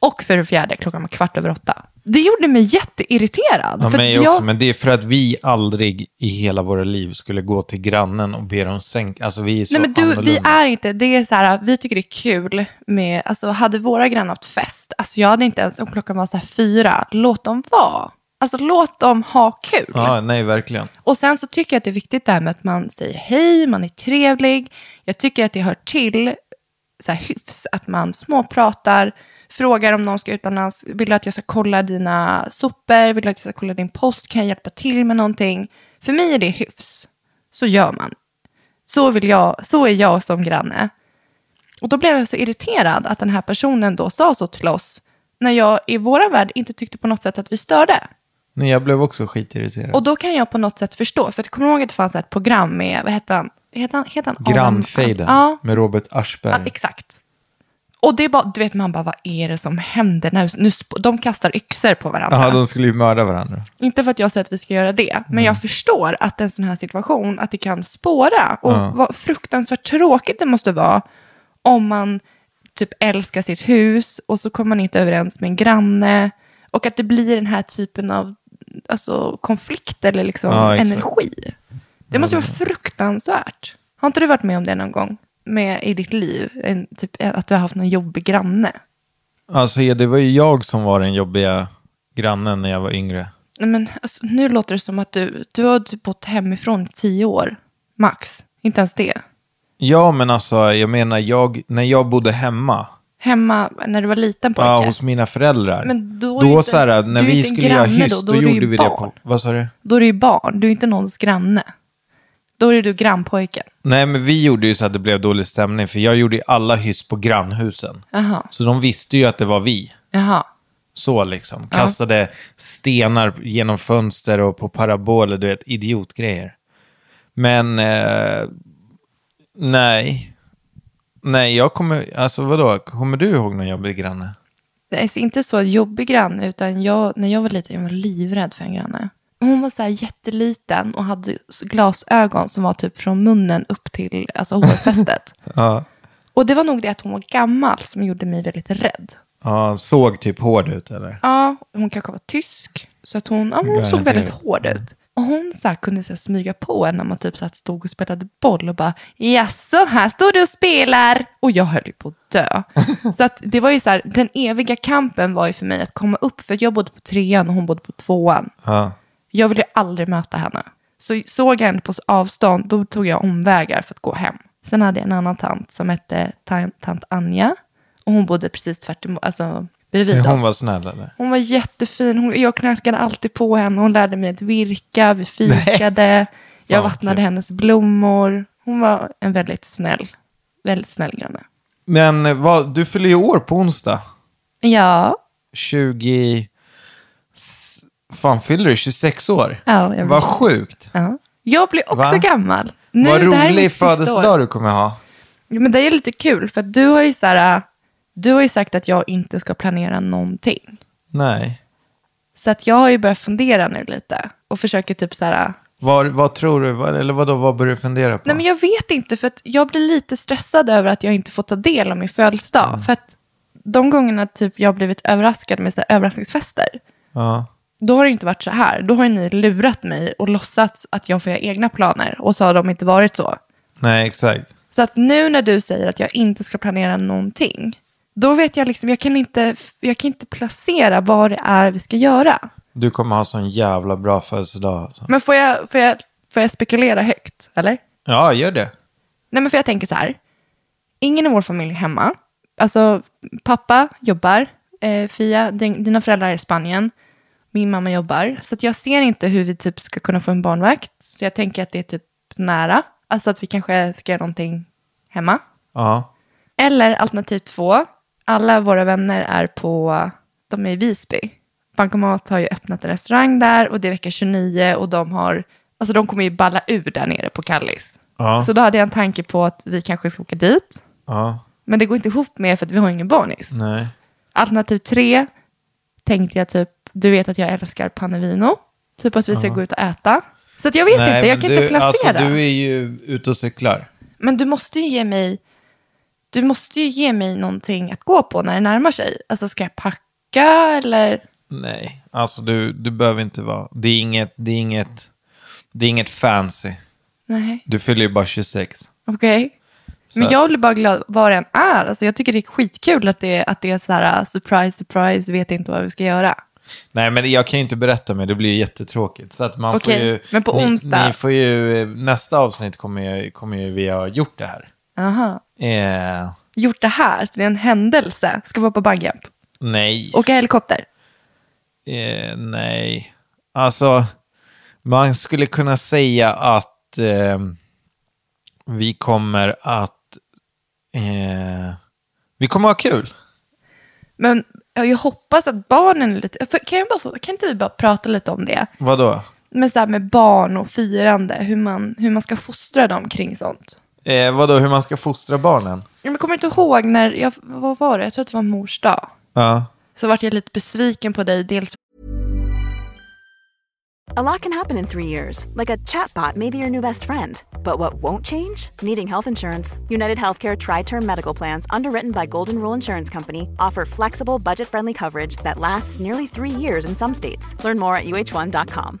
[SPEAKER 5] Och för det fjärde, klockan var kvart över åtta. Det gjorde mig jätteirriterad.
[SPEAKER 6] Ja,
[SPEAKER 5] för att
[SPEAKER 6] mig också,
[SPEAKER 5] jag-
[SPEAKER 6] men det är för att vi aldrig i hela våra liv skulle gå till grannen och be dem sänka. Alltså vi är så
[SPEAKER 5] Nej, men du, vi
[SPEAKER 6] annorlunda.
[SPEAKER 5] är inte, det är så här, vi tycker det är kul med, alltså hade våra grannar haft fest, alltså jag hade inte ens, om klockan var så här fyra, låt dem vara. Alltså låt dem ha kul.
[SPEAKER 6] Ja, nej, verkligen.
[SPEAKER 5] Och sen så tycker jag att det är viktigt det här med att man säger hej, man är trevlig. Jag tycker att det hör till så här, hyfs att man småpratar, frågar om någon ska utomlands, vill du att jag ska kolla dina sopor, vill du att jag ska kolla din post, kan jag hjälpa till med någonting? För mig är det hyfs. Så gör man. Så, vill jag, så är jag som granne. Och då blev jag så irriterad att den här personen då sa så till oss när jag i våran värld inte tyckte på något sätt att vi störde.
[SPEAKER 6] Nej, jag blev också skitirriterad.
[SPEAKER 5] Och då kan jag på något sätt förstå, för att kommer du ihåg att det fanns ett program med, vad hette han? Hette han, hette han Adam?
[SPEAKER 6] Grannfejden
[SPEAKER 5] Ja,
[SPEAKER 6] med Robert
[SPEAKER 5] ja,
[SPEAKER 6] Aschberg.
[SPEAKER 5] exakt. Och det är bara, du vet man bara, vad är det som händer? Nu, nu, sp- de kastar yxor på varandra.
[SPEAKER 6] Ja, de skulle ju mörda varandra.
[SPEAKER 5] Inte för att jag säger att vi ska göra det, men jag förstår att en sån här situation, att det kan spåra. Och vad fruktansvärt tråkigt det måste vara om man typ älskar sitt hus och så kommer man inte överens med en granne. Och att det blir den här typen av alltså, konflikt eller liksom
[SPEAKER 6] Ja, exakt.
[SPEAKER 5] energi. Det måste vara fruktansvärt. Har inte du varit med om det någon gång med, i ditt liv? En, typ, att du har haft någon jobbig granne?
[SPEAKER 6] Alltså, ja, det var ju jag som var den jobbiga grannen när jag var yngre.
[SPEAKER 5] Nej, men alltså, nu låter det som att du, du har typ bott hemifrån i tio år, max. Inte ens det.
[SPEAKER 6] Ja, men alltså, jag menar, jag, när jag bodde hemma,
[SPEAKER 5] Hemma när du var liten pojke.
[SPEAKER 6] Ja, hos mina föräldrar.
[SPEAKER 5] Men då är
[SPEAKER 6] då
[SPEAKER 5] ju inte-
[SPEAKER 6] så här,
[SPEAKER 5] du
[SPEAKER 6] när
[SPEAKER 5] är ju
[SPEAKER 6] vi
[SPEAKER 5] inte en
[SPEAKER 6] skulle göra
[SPEAKER 5] granne
[SPEAKER 6] hyss,
[SPEAKER 5] då,
[SPEAKER 6] då,
[SPEAKER 5] då är du ju
[SPEAKER 6] gjorde vi det
[SPEAKER 5] barn.
[SPEAKER 6] på... Vad sa du?
[SPEAKER 5] Då är du ju barn, du är inte någons granne. Då är du grannpojken.
[SPEAKER 6] Nej, men vi gjorde ju så att det blev dålig stämning, för jag gjorde ju alla hyss på grannhusen.
[SPEAKER 5] Jaha,
[SPEAKER 6] Så de visste ju att det var vi.
[SPEAKER 5] jaha.
[SPEAKER 6] Så liksom. Kastade stenar genom fönster och på paraboler, du vet, idiotgrejer. Men eh, nej. Nej, jag kommer, alltså vadå, kommer du ihåg någon jobbig granne?
[SPEAKER 5] Det är inte så jobbig granne, utan jag, när jag var liten jag var livrädd för en granne. Hon var så här jätteliten och hade s- glasögon som var typ från munnen upp till alltså, hårfästet.
[SPEAKER 6] Ja.
[SPEAKER 5] Och det var nog det att hon var gammal som gjorde mig väldigt rädd.
[SPEAKER 6] Ja, såg typ hård ut eller?
[SPEAKER 5] Ja, hon kanske var tysk. Så att hon, ja, hon såg
[SPEAKER 6] Garanterat.
[SPEAKER 5] väldigt hård ut. Och hon så här, kunde så här, smyga på en när man typ så här, stod och spelade boll och bara jaså, här står du och spelar. Och jag höll ju på att dö. så att det var ju så här, den eviga kampen var ju för mig att komma upp. För att jag bodde på trean och hon bodde på tvåan.
[SPEAKER 6] Ja.
[SPEAKER 5] Jag ville aldrig möta henne. Så såg jag henne på avstånd, då tog jag omvägar för att gå hem. Sen hade jag en annan tant som hette tan- tant Anja. Och hon bodde precis tvärtom, alltså bredvid
[SPEAKER 6] Hon
[SPEAKER 5] oss.
[SPEAKER 6] var snäll eller?
[SPEAKER 5] Hon var jättefin. Hon, jag knarkade alltid på henne. Hon lärde mig att virka. Vi fikade. Jag
[SPEAKER 6] Fan,
[SPEAKER 5] vattnade
[SPEAKER 6] kul.
[SPEAKER 5] hennes blommor. Hon var en väldigt snäll, väldigt snäll granne.
[SPEAKER 6] Men eh, vad, du fyller ju år på onsdag.
[SPEAKER 5] Ja,
[SPEAKER 6] 20... S- Fan, fyller du 26 år?
[SPEAKER 5] Ja, jag
[SPEAKER 6] Vad
[SPEAKER 5] vet.
[SPEAKER 6] sjukt.
[SPEAKER 5] ja. jag blir också
[SPEAKER 6] Va?
[SPEAKER 5] gammal. Nu,
[SPEAKER 6] Vad
[SPEAKER 5] det här är
[SPEAKER 6] rolig
[SPEAKER 5] mitt sista år.
[SPEAKER 6] födelsedag du kommer ha.
[SPEAKER 5] Ja, men det är lite kul, för att du har ju så här, äh, du har ju sagt att jag inte ska planera någonting.
[SPEAKER 6] Nej.
[SPEAKER 5] Så att jag har ju börjat fundera nu lite och försöker typ så här, äh,
[SPEAKER 6] Vad, vad tror du? Vad, eller vadå, vad börjar du fundera på?
[SPEAKER 5] nej men jag vet inte för att jag blir lite stressad över att jag inte får ta del av min födelsedag. För att de gångerna typ jag har blivit överraskad med så här, överraskningsfester,
[SPEAKER 6] Ja.
[SPEAKER 5] då har det inte varit så här. Då har ju ni lurat mig och låtsats att jag får göra egna planer och så har de inte varit så.
[SPEAKER 6] Nej, exakt.
[SPEAKER 5] Så att nu när du säger att jag inte ska planera någonting, då vet jag liksom, jag kan inte, jag kan inte placera vad det är vi ska göra.
[SPEAKER 6] Du kommer ha sån jävla bra födelsedag. Alltså.
[SPEAKER 5] Men får jag, får jag, får jag spekulera högt, eller?
[SPEAKER 6] Ja, gör det.
[SPEAKER 5] Nej men för jag tänker så här, ingen i vår familj är hemma. Alltså pappa jobbar, eh, Fia, din, dina föräldrar är i Spanien, min mamma jobbar. Så att jag ser inte hur vi typ ska kunna få en barnvakt. Så jag tänker att det är typ nära. Alltså att vi kanske ska göra någonting hemma.
[SPEAKER 6] Ja.
[SPEAKER 5] Eller alternativ två, alla våra vänner är på, de är i Visby. Bankomat har ju öppnat en restaurang där och det är vecka 29 och de har, alltså de kommer ju balla ur där nere på Kallis.
[SPEAKER 6] Ja.
[SPEAKER 5] Så då hade jag en tanke på att vi kanske ska åka dit.
[SPEAKER 6] Ja.
[SPEAKER 5] Men det går inte ihop med för att vi har ingen barnis.
[SPEAKER 6] Nej.
[SPEAKER 5] Alternativ tre tänkte jag typ, du vet att jag älskar Panevino. Typ att vi ska gå ut och äta. Så att jag vet
[SPEAKER 6] Nej,
[SPEAKER 5] inte,
[SPEAKER 6] men
[SPEAKER 5] jag kan
[SPEAKER 6] du,
[SPEAKER 5] inte placera.
[SPEAKER 6] Alltså, du är ju ute och cyklar.
[SPEAKER 5] Men du måste ju ge mig du måste ju ge mig någonting att gå på när det närmar sig. Alltså ska jag packa eller?
[SPEAKER 6] Nej, alltså du, du behöver inte vara... Det är inget, det är inget, det är inget fancy.
[SPEAKER 5] Nej,
[SPEAKER 6] Du fyller ju bara 26.
[SPEAKER 5] okej. Men
[SPEAKER 6] att-
[SPEAKER 5] jag blir bara glad vad den är. Alltså jag tycker det är skitkul att det, att det är så här uh, surprise, surprise, vet inte vad vi ska göra.
[SPEAKER 6] Nej, men jag kan ju inte berätta mer. Det blir ju jättetråkigt. Så att man
[SPEAKER 5] Okej,
[SPEAKER 6] får ju,
[SPEAKER 5] men på
[SPEAKER 6] ni,
[SPEAKER 5] onsdag-
[SPEAKER 6] Ni får ju, nästa avsnitt kommer ju, kommer ju vi ha gjort det här.
[SPEAKER 5] Aha.
[SPEAKER 6] Eh,
[SPEAKER 5] Gjort det här, så det är en händelse. Ska vara på bungyjump.
[SPEAKER 6] nej,
[SPEAKER 5] Åka helikopter.
[SPEAKER 6] eh, nej. Alltså, man skulle kunna säga att eh, vi kommer att... Eh, vi kommer ha kul.
[SPEAKER 5] Men ja, jag hoppas att barnen är lite... För, kan, jag bara få, kan inte vi bara prata lite om det?
[SPEAKER 6] Vadå?
[SPEAKER 5] Men så här med barn och firande, hur man, hur man ska fostra dem kring sånt.
[SPEAKER 6] Eh, vadå, hur man ska fostra barnen?
[SPEAKER 5] Ja, men Jag kommer inte ihåg när, jag, vad var det? Jag tror att det var mors dag.
[SPEAKER 6] Ja.
[SPEAKER 5] Så vart jag lite besviken på dig, dels
[SPEAKER 7] A lot can happen in three years, like a chatbot may be your new best friend. But what won't change? Needing health insurance. United Healthcare Tri Term Medical Plans, underwritten by Golden Rule Insurance Company, offer flexible, budget friendly coverage that lasts nearly three years in some states. Learn more at uh1.com.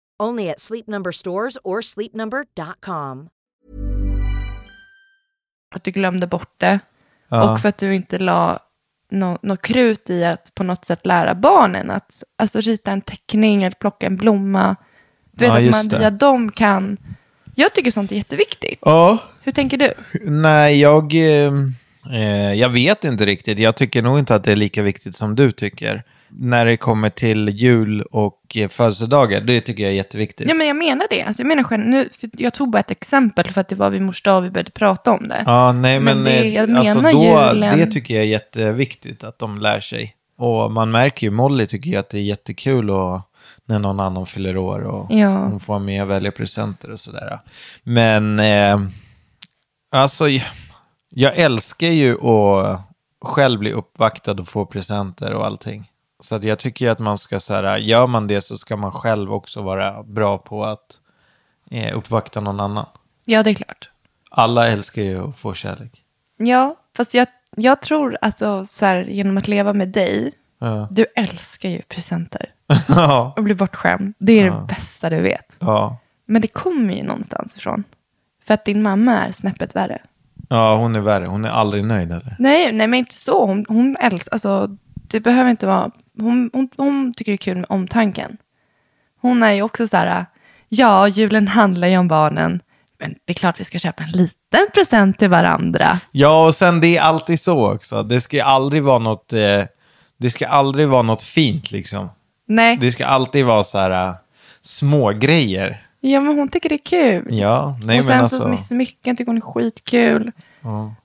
[SPEAKER 4] Only at Sleep Number stores or sleepnumber.com.
[SPEAKER 5] Att du glömde bort det.
[SPEAKER 6] Ja.
[SPEAKER 5] Och för att du inte la nå- något krut i att på något sätt lära barnen att alltså, rita en teckning eller plocka en blomma. Du vet
[SPEAKER 6] Ja,
[SPEAKER 5] att
[SPEAKER 6] just
[SPEAKER 5] man
[SPEAKER 6] det.
[SPEAKER 5] via dem kan... Jag tycker sånt är jätteviktigt.
[SPEAKER 6] Ja,
[SPEAKER 5] Hur tänker du?
[SPEAKER 6] nej, jag, eh, eh, jag vet inte riktigt. Jag tycker nog inte att det är lika viktigt som du tycker. När det kommer till jul och eh, födelsedagar, det tycker jag är jätteviktigt.
[SPEAKER 5] Ja, men jag menar det. Alltså, jag, menar, själv- nu, för jag tog bara ett exempel för att det var vid mors dag vi började prata om det.
[SPEAKER 6] Ja, nej men,
[SPEAKER 5] Men det-
[SPEAKER 6] eh,
[SPEAKER 5] jag
[SPEAKER 6] alltså,
[SPEAKER 5] menar
[SPEAKER 6] då,
[SPEAKER 5] julen.
[SPEAKER 6] det tycker jag är jätteviktigt att de lär sig. Och man märker ju, Molly tycker ju att det är jättekul och, när någon annan fyller år och
[SPEAKER 5] Ja.
[SPEAKER 6] hon får vara med och välja presenter och sådär. Men eh, alltså, jag, jag älskar ju att själv bli uppvaktad och få presenter och allting. Så att jag tycker ju att man ska så här, gör man det så ska man själv också vara bra på att eh, uppvakta någon annan.
[SPEAKER 5] Ja, det är klart.
[SPEAKER 6] Alla älskar ju att få kärlek.
[SPEAKER 5] Ja, fast jag, jag tror alltså så här, genom att leva med dig, du älskar ju presenter
[SPEAKER 6] Ja,
[SPEAKER 5] och blir bortskämd. Det är det bästa du vet.
[SPEAKER 6] ja.
[SPEAKER 5] Men det kommer ju någonstans ifrån. För att din mamma är snäppet värre.
[SPEAKER 6] ja, hon är värre. Hon är aldrig nöjd eller?
[SPEAKER 5] Nej, nej men inte så. Hon, hon älskar, alltså det behöver inte vara, hon, hon, hon tycker det är kul med omtanken. Hon är ju också så här, ja, julen handlar ju om barnen. Men det är klart vi ska köpa en liten present till varandra.
[SPEAKER 6] Ja, och sen det är alltid så också. Det ska ju aldrig vara något, eh, det ska aldrig vara något fint liksom.
[SPEAKER 5] Nej,
[SPEAKER 6] Det ska alltid vara så här eh, små grejer.
[SPEAKER 5] ja men hon tycker det är kul.
[SPEAKER 6] Ja, nej
[SPEAKER 5] och sen
[SPEAKER 6] men
[SPEAKER 5] så
[SPEAKER 6] alltså.
[SPEAKER 5] med smycken tycker hon är skitkul.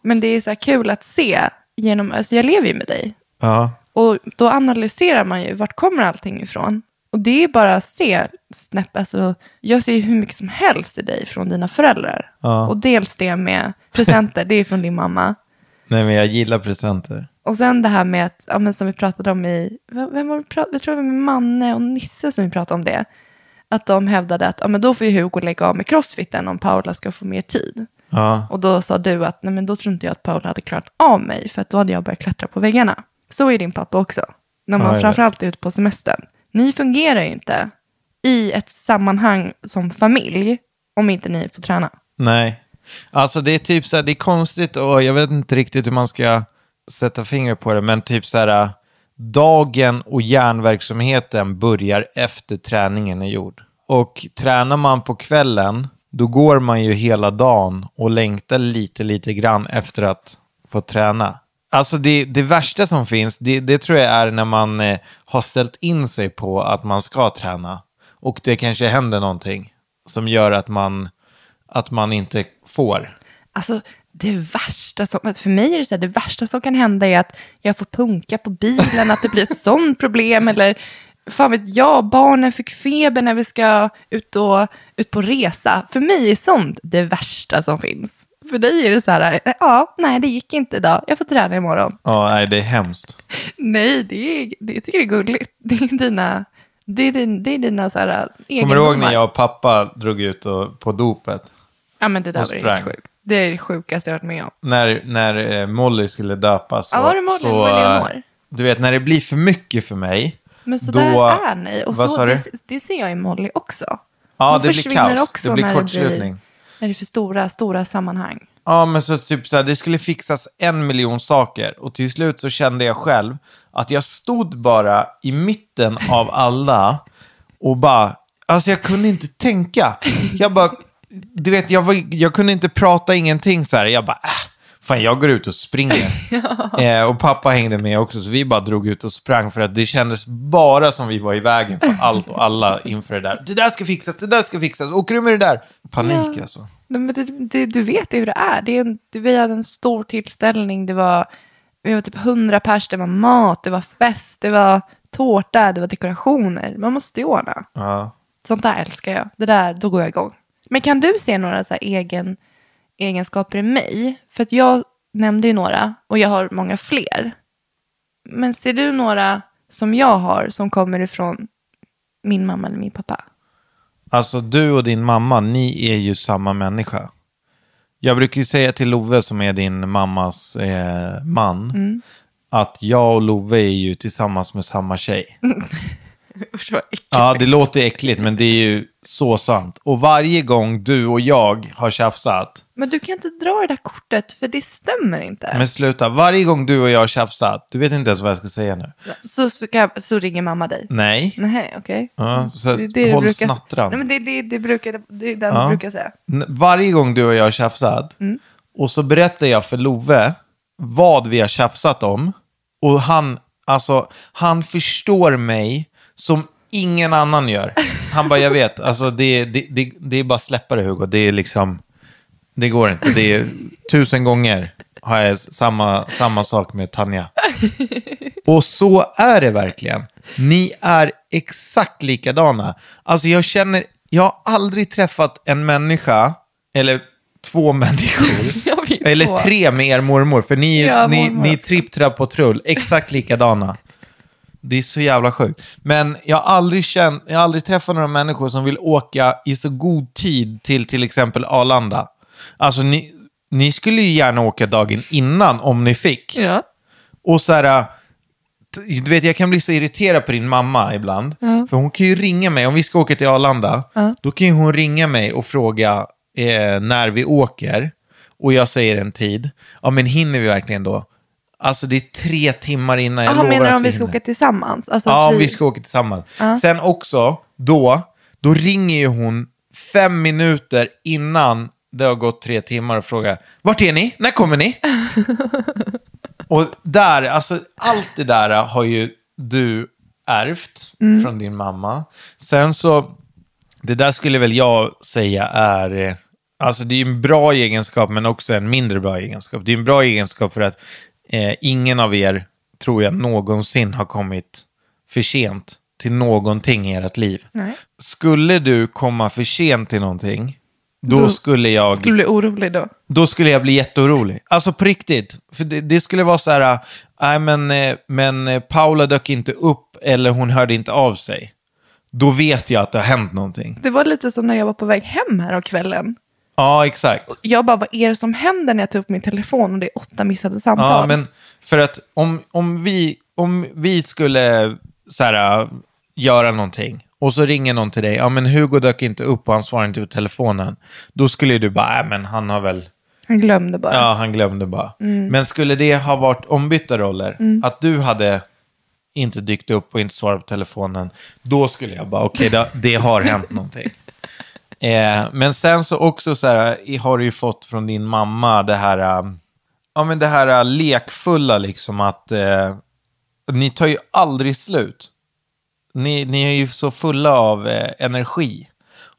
[SPEAKER 5] Men det är så här kul att se. Genom, alltså jag lever ju med dig.
[SPEAKER 6] Ja,
[SPEAKER 5] Och då analyserar man ju, vart kommer allting ifrån? Och det är bara att se, snäpp, alltså, jag ser ju hur mycket som helst i dig från dina föräldrar. Och dels det med presenter, det är från din mamma.
[SPEAKER 6] nej men jag gillar presenter.
[SPEAKER 5] Och sen det här med att, ja, men som vi pratade om i, vem vem var det, vi prat- jag tror det var med Manne och Nisse som vi pratade om det. Att de hävdade att ja, men då får ju Hugo lägga av med crossfiten om Paula ska få mer tid.
[SPEAKER 6] Ja,
[SPEAKER 5] Och då sa du att nej, men då tror inte jag att Paula hade klarat av mig för att då hade jag börjat klättra på väggarna. Så är din pappa också. När
[SPEAKER 6] Ja, jag
[SPEAKER 5] man
[SPEAKER 6] vet.
[SPEAKER 5] framförallt är ute på semestern. Ni fungerar ju inte i ett sammanhang som familj om inte ni får träna.
[SPEAKER 6] nej. Alltså det är typ så här, det är konstigt och jag vet inte riktigt hur man ska sätta fingret på det, men typ så här, eh, dagen och hjärnverksamheten börjar efter träningen är gjord. Och tränar man på kvällen, då går man ju hela dagen och längtar lite, lite grann efter att få träna. Alltså det, det värsta som finns, det, det tror jag är när man eh, har ställt in sig på att man ska träna och det kanske händer någonting som gör att man, att man inte får.
[SPEAKER 5] Alltså det värsta som, för mig är det så här, det värsta som kan hända är att jag får punka på bilen, att det blir ett sånt problem eller fan vet jag, barnen fick feber när vi ska ut, och, ut på resa. För mig är sånt det värsta som finns. För dig är det så här, eh, ja, nej det gick inte idag, jag får träna imorgon.
[SPEAKER 6] Ja, nej, det är hemskt.
[SPEAKER 5] Nej, det är, det, jag tycker det är gulligt. Det är dina, det är din, det är dina så här eh,
[SPEAKER 6] Kommer du ihåg
[SPEAKER 5] egendomar.
[SPEAKER 6] när jag och pappa drog ut och, på dopet?
[SPEAKER 5] Ja men det där
[SPEAKER 6] och
[SPEAKER 5] var ju
[SPEAKER 6] sprang?
[SPEAKER 5] helt sjukt. Det är det sjukaste jag varit med om.
[SPEAKER 6] När, när eh, Molly skulle döpas.
[SPEAKER 5] Ja, var det Molly?
[SPEAKER 6] så, eh,
[SPEAKER 5] Var det Eleanor?
[SPEAKER 6] Du vet, när det blir för mycket för mig.
[SPEAKER 5] Men så
[SPEAKER 6] då-
[SPEAKER 5] där är ni. Och
[SPEAKER 6] vad
[SPEAKER 5] så,
[SPEAKER 6] sa du?
[SPEAKER 5] det, det ser jag i Molly också.
[SPEAKER 6] Ja,
[SPEAKER 5] Hon
[SPEAKER 6] det blir
[SPEAKER 5] försvinner
[SPEAKER 6] kaos. Det blir kortslutning.
[SPEAKER 5] när det är för stora, stora sammanhang.
[SPEAKER 6] Ja, men så typ så här, det skulle fixas en miljon saker. Och till slut så kände jag själv att jag stod bara i mitten av alla och bara, alltså jag kunde inte tänka. Jag bara, du vet, jag, var, jag kunde inte prata ingenting så här. Jag bara, äh, fan jag går ut och springer. eh, och pappa hängde med också, så vi bara drog ut och sprang för att det kändes bara som vi var i vägen för allt och alla inför det där. Det där ska fixas, det där ska fixas, åker du med det där? Panik alltså.
[SPEAKER 5] Nej, Men det, det, du vet ju hur det är. Det är en, det- vi hade en stor tillställning. Det var, vi var typ hundra pers. Det var mat, det var fest, det var tårta, det var dekorationer. Man måste ju ordna.
[SPEAKER 6] Ja.
[SPEAKER 5] Sånt där älskar jag. Det där, då går jag igång. Men kan du se några så här egen, egenskaper i mig? För att jag nämnde ju några och jag har många fler. Men ser du några som jag har som kommer ifrån min mamma eller min pappa?
[SPEAKER 6] Alltså du och din mamma, ni är ju samma människa. Jag brukar ju säga till Love som är din mammas eh, man.
[SPEAKER 5] Mm.
[SPEAKER 6] Att jag och Love är ju tillsammans med samma tjej.
[SPEAKER 5] Usch, vad äckligt.
[SPEAKER 6] Ja, det låter äckligt men det är ju så sant. Och varje gång du och jag har tjafsat.
[SPEAKER 5] Men du kan inte dra det där kortet för det stämmer inte.
[SPEAKER 6] Men sluta, varje gång du och jag har tjafsat. Du vet inte ens vad jag ska säga nu.
[SPEAKER 5] Så, så, kan, så ringer mamma dig.
[SPEAKER 6] Nej.
[SPEAKER 5] Nej, okej.
[SPEAKER 6] Ja, så
[SPEAKER 5] Mm. Det är det du
[SPEAKER 6] håll
[SPEAKER 5] brukar-
[SPEAKER 6] snattran.
[SPEAKER 5] Nej, men det, det, det, brukar, det är den
[SPEAKER 6] Ja.
[SPEAKER 5] du brukar säga.
[SPEAKER 6] N- Varje gång du och jag har tjafsat och så berättar jag för Love vad vi har tjafsat om och han, alltså, han förstår mig som ingen annan gör. Han bara, jag vet, alltså, det, det, det, det är bara att släppa det Hugo, det är liksom, det går inte. Det är tusen gånger har jag samma, samma sak med Tanja. Och så är det verkligen. Ni är exakt likadana. Alltså jag känner, jag har aldrig träffat en människa, eller två människor,
[SPEAKER 5] Ja, vi är två.
[SPEAKER 6] eller tre med er mormor, för ni,
[SPEAKER 5] Ja,
[SPEAKER 6] ni,
[SPEAKER 5] mormor.
[SPEAKER 6] ni är tripp, trapp, patrull, exakt likadana. Det är så jävla sjukt. Men jag har aldrig, känt, jag har aldrig träffat några människor som vill åka i så god tid till till exempel Arlanda. Alltså ni, ni skulle ju gärna åka dagen innan om ni fick.
[SPEAKER 5] Ja.
[SPEAKER 6] Och så här, t- du vet jag kan bli så irriterad på din mamma ibland. För hon kan ju ringa mig, om vi ska åka till Arlanda, då kan ju hon ringa mig och fråga eh, när vi åker. Och jag säger en tid. Ja men hinner vi verkligen då? Alltså det är tre timmar innan jag
[SPEAKER 5] Jaha,
[SPEAKER 6] lovar
[SPEAKER 5] menar du
[SPEAKER 6] att
[SPEAKER 5] om vi ska
[SPEAKER 6] hinner.
[SPEAKER 5] åka tillsammans? Alltså,
[SPEAKER 6] Ja,
[SPEAKER 5] att
[SPEAKER 6] om vi ska åka tillsammans. Sen också, då, då ringer ju hon fem minuter innan det har gått tre timmar och frågar Vart är ni? När kommer ni? och där, alltså allt det där har ju du ärvt
[SPEAKER 5] Mm.
[SPEAKER 6] från din mamma. Sen så, det där skulle väl jag säga är, eh, alltså det är ju en bra egenskap men också en mindre bra egenskap. Det är en bra egenskap för att eh, ingen av er, tror jag, någonsin har kommit för sent till någonting i ert liv.
[SPEAKER 5] Nej.
[SPEAKER 6] Skulle du komma för sent till någonting, då, skulle jag
[SPEAKER 5] Skulle du bli orolig då?
[SPEAKER 6] då skulle jag bli jätteorolig. Alltså på riktigt. För det, det skulle vara så här, äh, nej men, eh, men eh, Paula dök inte upp eller hon hörde inte av sig. Då vet jag att det har hänt någonting.
[SPEAKER 5] Det var lite som när jag var på väg hem här om kvällen.
[SPEAKER 6] Ja, exakt.
[SPEAKER 5] Jag bara, vad är det som händer när jag tar upp min telefon och det är åtta missade samtal?
[SPEAKER 6] Ja, men för att om, om, vi, om vi skulle så här, äh, göra någonting och så ringer någon till dig, ja men Hugo dök inte upp och han svarar inte på telefonen. Då skulle ju du bara, äh, men han har väl...
[SPEAKER 5] Han glömde bara.
[SPEAKER 6] Ja, han glömde bara. Men skulle det ha varit ombytta roller? Att du hade inte dykt upp och inte svarat på telefonen. Då skulle jag bara, okej, det, det har hänt någonting. Eh, men sen så också så här, eh, har du ju fått från din mamma det här, eh, ja men det här eh, lekfulla liksom att eh, ni tar ju aldrig slut. Ni, ni är ju så fulla av eh, energi.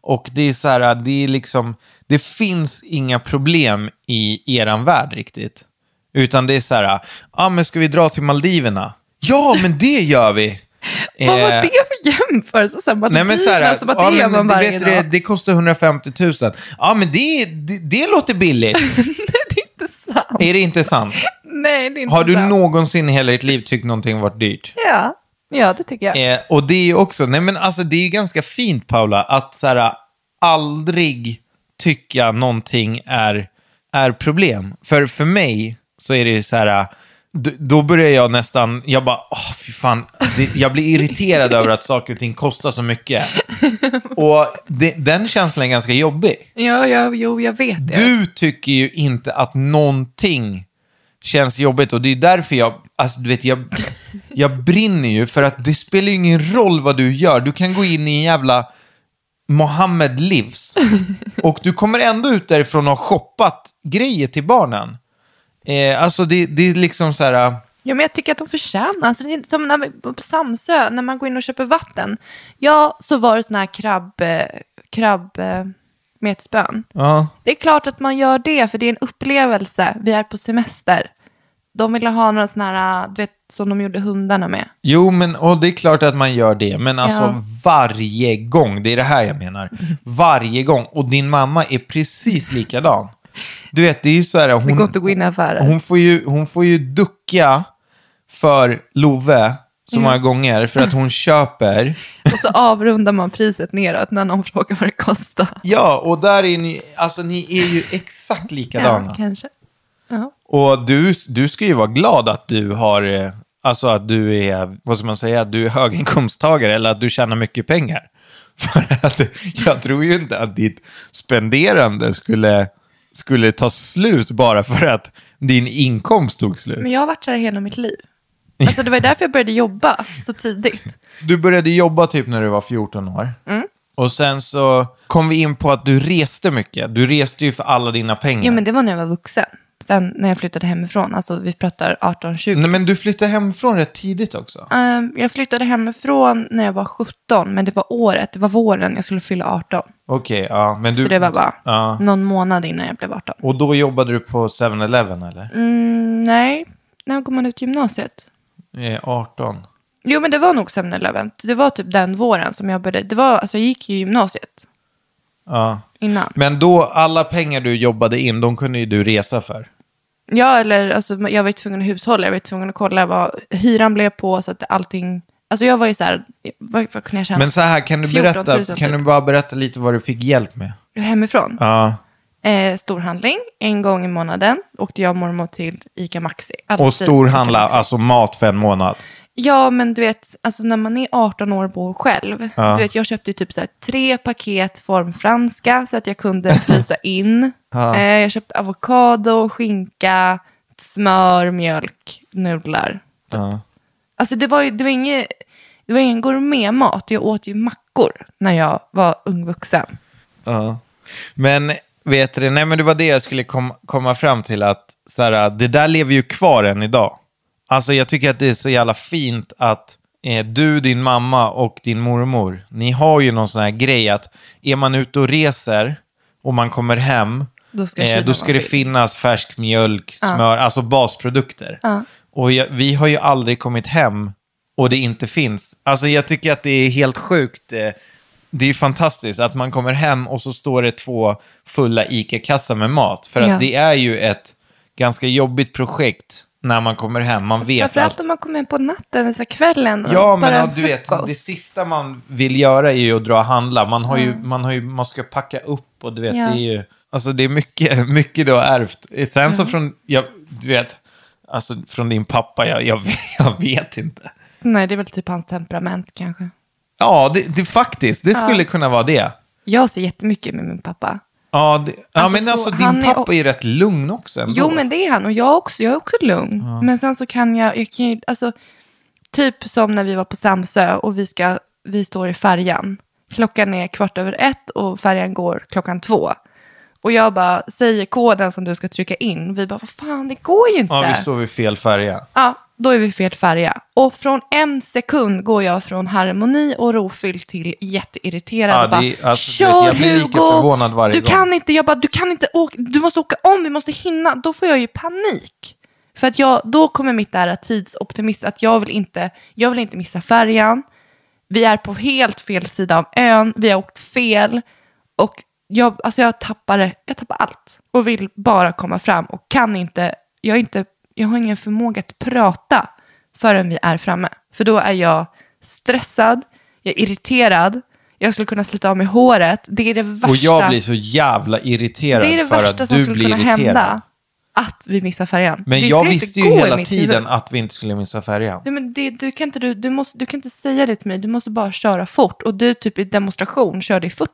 [SPEAKER 6] Och det är så här, det är liksom, det finns inga problem i eran värld riktigt. Utan det är så här, ja ah, men ska vi dra till Maldiverna? Ja, men det gör vi!
[SPEAKER 5] Vad var
[SPEAKER 6] Eh,
[SPEAKER 5] det för jämförelse? Så här,
[SPEAKER 6] Nej, men så här, eh,
[SPEAKER 5] som att
[SPEAKER 6] ja,
[SPEAKER 5] det gör
[SPEAKER 6] men
[SPEAKER 5] man varje
[SPEAKER 6] vet du
[SPEAKER 5] dag.
[SPEAKER 6] det, det kostar 150 000. Ja, men det, det, det låter billigt.
[SPEAKER 5] det är inte sant.
[SPEAKER 6] är det inte sant?
[SPEAKER 5] Nej, det är inte
[SPEAKER 6] Har du
[SPEAKER 5] sant.
[SPEAKER 6] någonsin i hela ditt liv tyckt någonting varit dyrt?
[SPEAKER 5] Ja. ja, det tycker jag.
[SPEAKER 6] Eh, och det är ju också, nej men alltså det är ju ganska fint Paula, att så här, aldrig tycka någonting är, är problem. För för mig så är det ju så här, d- då börjar jag nästan, jag bara, åh fy fan, det, jag blir irriterad över att saker och ting kostar så mycket. Och det, den känslan är ganska jobbig.
[SPEAKER 5] Ja, ja, jo, jag vet det.
[SPEAKER 6] Du tycker ju inte att någonting känns jobbigt och det är därför jag, alltså du vet, jag, jag brinner ju för att det spelar ju ingen roll vad du gör. Du kan gå in i en jävla Mohammed Livs och du kommer ändå ut därifrån och har shoppat grejer till barnen. Eh, alltså det, det är liksom så här,
[SPEAKER 5] Ja, men jag tycker att de förtjänar. Alltså, det är som när vi, på Samsö, när man går in och köper vatten. Ja, så var det såna här krabb, eh, krabb eh, med ett spön.
[SPEAKER 6] ja.
[SPEAKER 5] Det är klart att man gör det, för det är en upplevelse. Vi är på semester. De ville ha några såna här, äh, du vet, som de gjorde hundarna med.
[SPEAKER 6] Jo, men och det är klart att man gör det. Men alltså
[SPEAKER 5] Ja.
[SPEAKER 6] varje gång. Det är det här jag menar. Varje gång. Och din mamma är precis likadan. Du vet, det är ju så här. Hon,
[SPEAKER 5] Det går inte att gå in i affärer.
[SPEAKER 6] hon, får, ju, hon får ju ducka för Love så många gånger. För att hon köper.
[SPEAKER 5] Och så avrundar man priset neråt när någon frågar vad det kostar.
[SPEAKER 6] Ja, och där är ni. Alltså ni är ju exakt likadana.
[SPEAKER 5] Ja, kanske. Ja.
[SPEAKER 6] Och du, du ska ju vara glad att du har, eh, alltså att du är, vad ska man säga, att du är höginkomsttagare eller att du tjänar mycket pengar. För att jag tror ju inte att ditt spenderande skulle, skulle ta slut bara för att din inkomst tog
[SPEAKER 5] Men
[SPEAKER 6] slut.
[SPEAKER 5] jag har varit så här hela mitt liv. Alltså det var ju därför jag började jobba så tidigt.
[SPEAKER 6] Du började jobba typ när du var 14 år.
[SPEAKER 5] Mm.
[SPEAKER 6] Och sen så kom vi in på att du reste mycket. Du reste ju för alla dina pengar.
[SPEAKER 5] Jo men det var när jag var vuxen. Sen när jag flyttade hemifrån, alltså vi pratar 18-20.
[SPEAKER 6] Nej, men du flyttade hemifrån rätt tidigt också.
[SPEAKER 5] Ehm, jag flyttade hemifrån när jag var 17, men det var året, det var våren jag skulle fylla 18.
[SPEAKER 6] Okej, ja. Men du,
[SPEAKER 5] så det var bara
[SPEAKER 6] Ja.
[SPEAKER 5] någon månad innan jag blev 18.
[SPEAKER 6] Och då jobbade du på 7-Eleven eller?
[SPEAKER 5] Mm, nej, när går man ut gymnasiet?
[SPEAKER 6] Eh, 18.
[SPEAKER 5] Jo, men det var nog 7-Eleven. Det var typ den våren som jag började. Det var, alltså, jag gick ju gymnasiet
[SPEAKER 6] Ja.
[SPEAKER 5] innan.
[SPEAKER 6] Men då, alla pengar du jobbade in, de kunde ju du resa för.
[SPEAKER 5] Ja, eller alltså, jag var ju tvungen att hushålla. Jag var ju tvungen att kolla vad hyran blev på så att allting... Alltså jag var ju så här, vad, vad kunde jag tjäna?
[SPEAKER 6] Men så här, kan du,
[SPEAKER 5] 14 000
[SPEAKER 6] berätta,
[SPEAKER 5] typ.
[SPEAKER 6] kan du bara berätta lite vad du fick hjälp med?
[SPEAKER 5] Hemifrån.
[SPEAKER 6] Ja.
[SPEAKER 5] Eh, storhandling, en gång i månaden åkte jag och mormor till ICA Maxi. Alltid
[SPEAKER 6] Och storhandla,
[SPEAKER 5] Ica Maxi.
[SPEAKER 6] alltså mat för en månad.
[SPEAKER 5] Ja, men du vet, alltså när man är 18 år och bor själv. Du vet, jag köpte ju typ så här tre paket formfranska så att jag kunde frysa in. Eh, jag köpte avokado, skinka, smör, mjölk, nudlar.
[SPEAKER 6] Ja.
[SPEAKER 5] Alltså det var ju, det var inget, det var ingen gourmetmat. Jag åt ju mackor när jag var ung vuxen.
[SPEAKER 6] Ja. Men vet du, nej men det var det jag skulle kom, komma fram till att så här, det där lever ju kvar än idag. Alltså jag tycker att det är så jävla fint att eh, du, din mamma och din mormor, ni har ju någon sån här grej att är man ute och reser och man kommer hem, eh,
[SPEAKER 5] Då ska kylen
[SPEAKER 6] då ska
[SPEAKER 5] vara
[SPEAKER 6] det
[SPEAKER 5] fylld.
[SPEAKER 6] finnas färsk mjölk, smör, alltså basprodukter. Och jag, vi har ju aldrig kommit hem och det inte finns. Alltså jag tycker att det är helt sjukt. eh, Det är ju fantastiskt att man kommer hem och så står det två fulla ICA-kassar med mat. För att
[SPEAKER 5] Ja.
[SPEAKER 6] det är ju ett ganska jobbigt projekt när man kommer hem. Man vet
[SPEAKER 5] Framförallt
[SPEAKER 6] att...
[SPEAKER 5] om man kommer hem på natten, eller så här kvällen. och
[SPEAKER 6] Ja, men
[SPEAKER 5] bara
[SPEAKER 6] ja,
[SPEAKER 5] en
[SPEAKER 6] du vet,
[SPEAKER 5] frukost.
[SPEAKER 6] det sista man vill göra är ju att dra och handla. Man, har ju, man, har ju, man ska packa upp och du vet,
[SPEAKER 5] Ja.
[SPEAKER 6] det är ju... Alltså det är mycket, mycket du har ärvt. Sen så från, jag, du vet, alltså från din pappa, jag, jag, jag vet inte.
[SPEAKER 5] Nej, det är väl typ hans temperament kanske.
[SPEAKER 6] Ja, det, det faktiskt, det skulle kunna vara det.
[SPEAKER 5] Jag ser jättemycket med min pappa.
[SPEAKER 6] Ja, det, ja
[SPEAKER 5] Alltså,
[SPEAKER 6] men
[SPEAKER 5] så
[SPEAKER 6] alltså
[SPEAKER 5] han
[SPEAKER 6] din
[SPEAKER 5] är-
[SPEAKER 6] pappa är ju rätt lugn också ändå.
[SPEAKER 5] Jo, men det är han. Och jag också. Jag är också lugn. Men sen så kan jag, jag kan ju, alltså, typ som när vi var på Samsö och vi, ska, vi står i färjan. Klockan är kvart över ett och färjan går klockan två. Och jag bara säger koden som du ska trycka in. Vi bara, vad fan, det går ju inte.
[SPEAKER 6] Ja, vi står vid fel färja.
[SPEAKER 5] Ja, då är vi fel färja. Och från en sekund går jag från harmoni och rofylld till jätteirriterad.
[SPEAKER 6] Ja,
[SPEAKER 5] och bara,
[SPEAKER 6] det är- alltså, du vet,
[SPEAKER 5] Kör
[SPEAKER 6] jag blir lika
[SPEAKER 5] Hugo!
[SPEAKER 6] förvånad varje
[SPEAKER 5] du
[SPEAKER 6] gång."
[SPEAKER 5] kan inte, jag bara, du kan inte åka, du måste åka om, vi måste hinna. Då får jag ju panik. För att jag, då kommer mitt där tidsoptimist, att jag vill inte, jag vill inte missa färjan. Vi är på helt fel sida av ön, vi har åkt fel. Och jag, alltså jag, tappar, det- jag tappar allt och vill bara komma fram och kan inte jag, är inte, jag har ingen förmåga att prata förrän vi är framme. För då är jag stressad, jag är irriterad, jag skulle kunna slita av mig håret. Det är det värsta,
[SPEAKER 6] Och jag blir så jävla irriterad
[SPEAKER 5] det är det
[SPEAKER 6] för
[SPEAKER 5] värsta
[SPEAKER 6] att
[SPEAKER 5] som
[SPEAKER 6] du
[SPEAKER 5] skulle
[SPEAKER 6] blir
[SPEAKER 5] kunna
[SPEAKER 6] irriterad.
[SPEAKER 5] hända. Att vi missar färjan.
[SPEAKER 6] Men
[SPEAKER 5] det
[SPEAKER 6] jag
[SPEAKER 5] skulle inte
[SPEAKER 6] visste
[SPEAKER 5] gå
[SPEAKER 6] ju
[SPEAKER 5] i
[SPEAKER 6] hela
[SPEAKER 5] mitt
[SPEAKER 6] tiden
[SPEAKER 5] huvud.
[SPEAKER 6] att vi inte skulle missa färjan.
[SPEAKER 5] Nej, men det, du, kan inte, du, du, måste, du kan inte säga det till mig, du måste bara köra fort. Och du typ i demonstration körde i 40.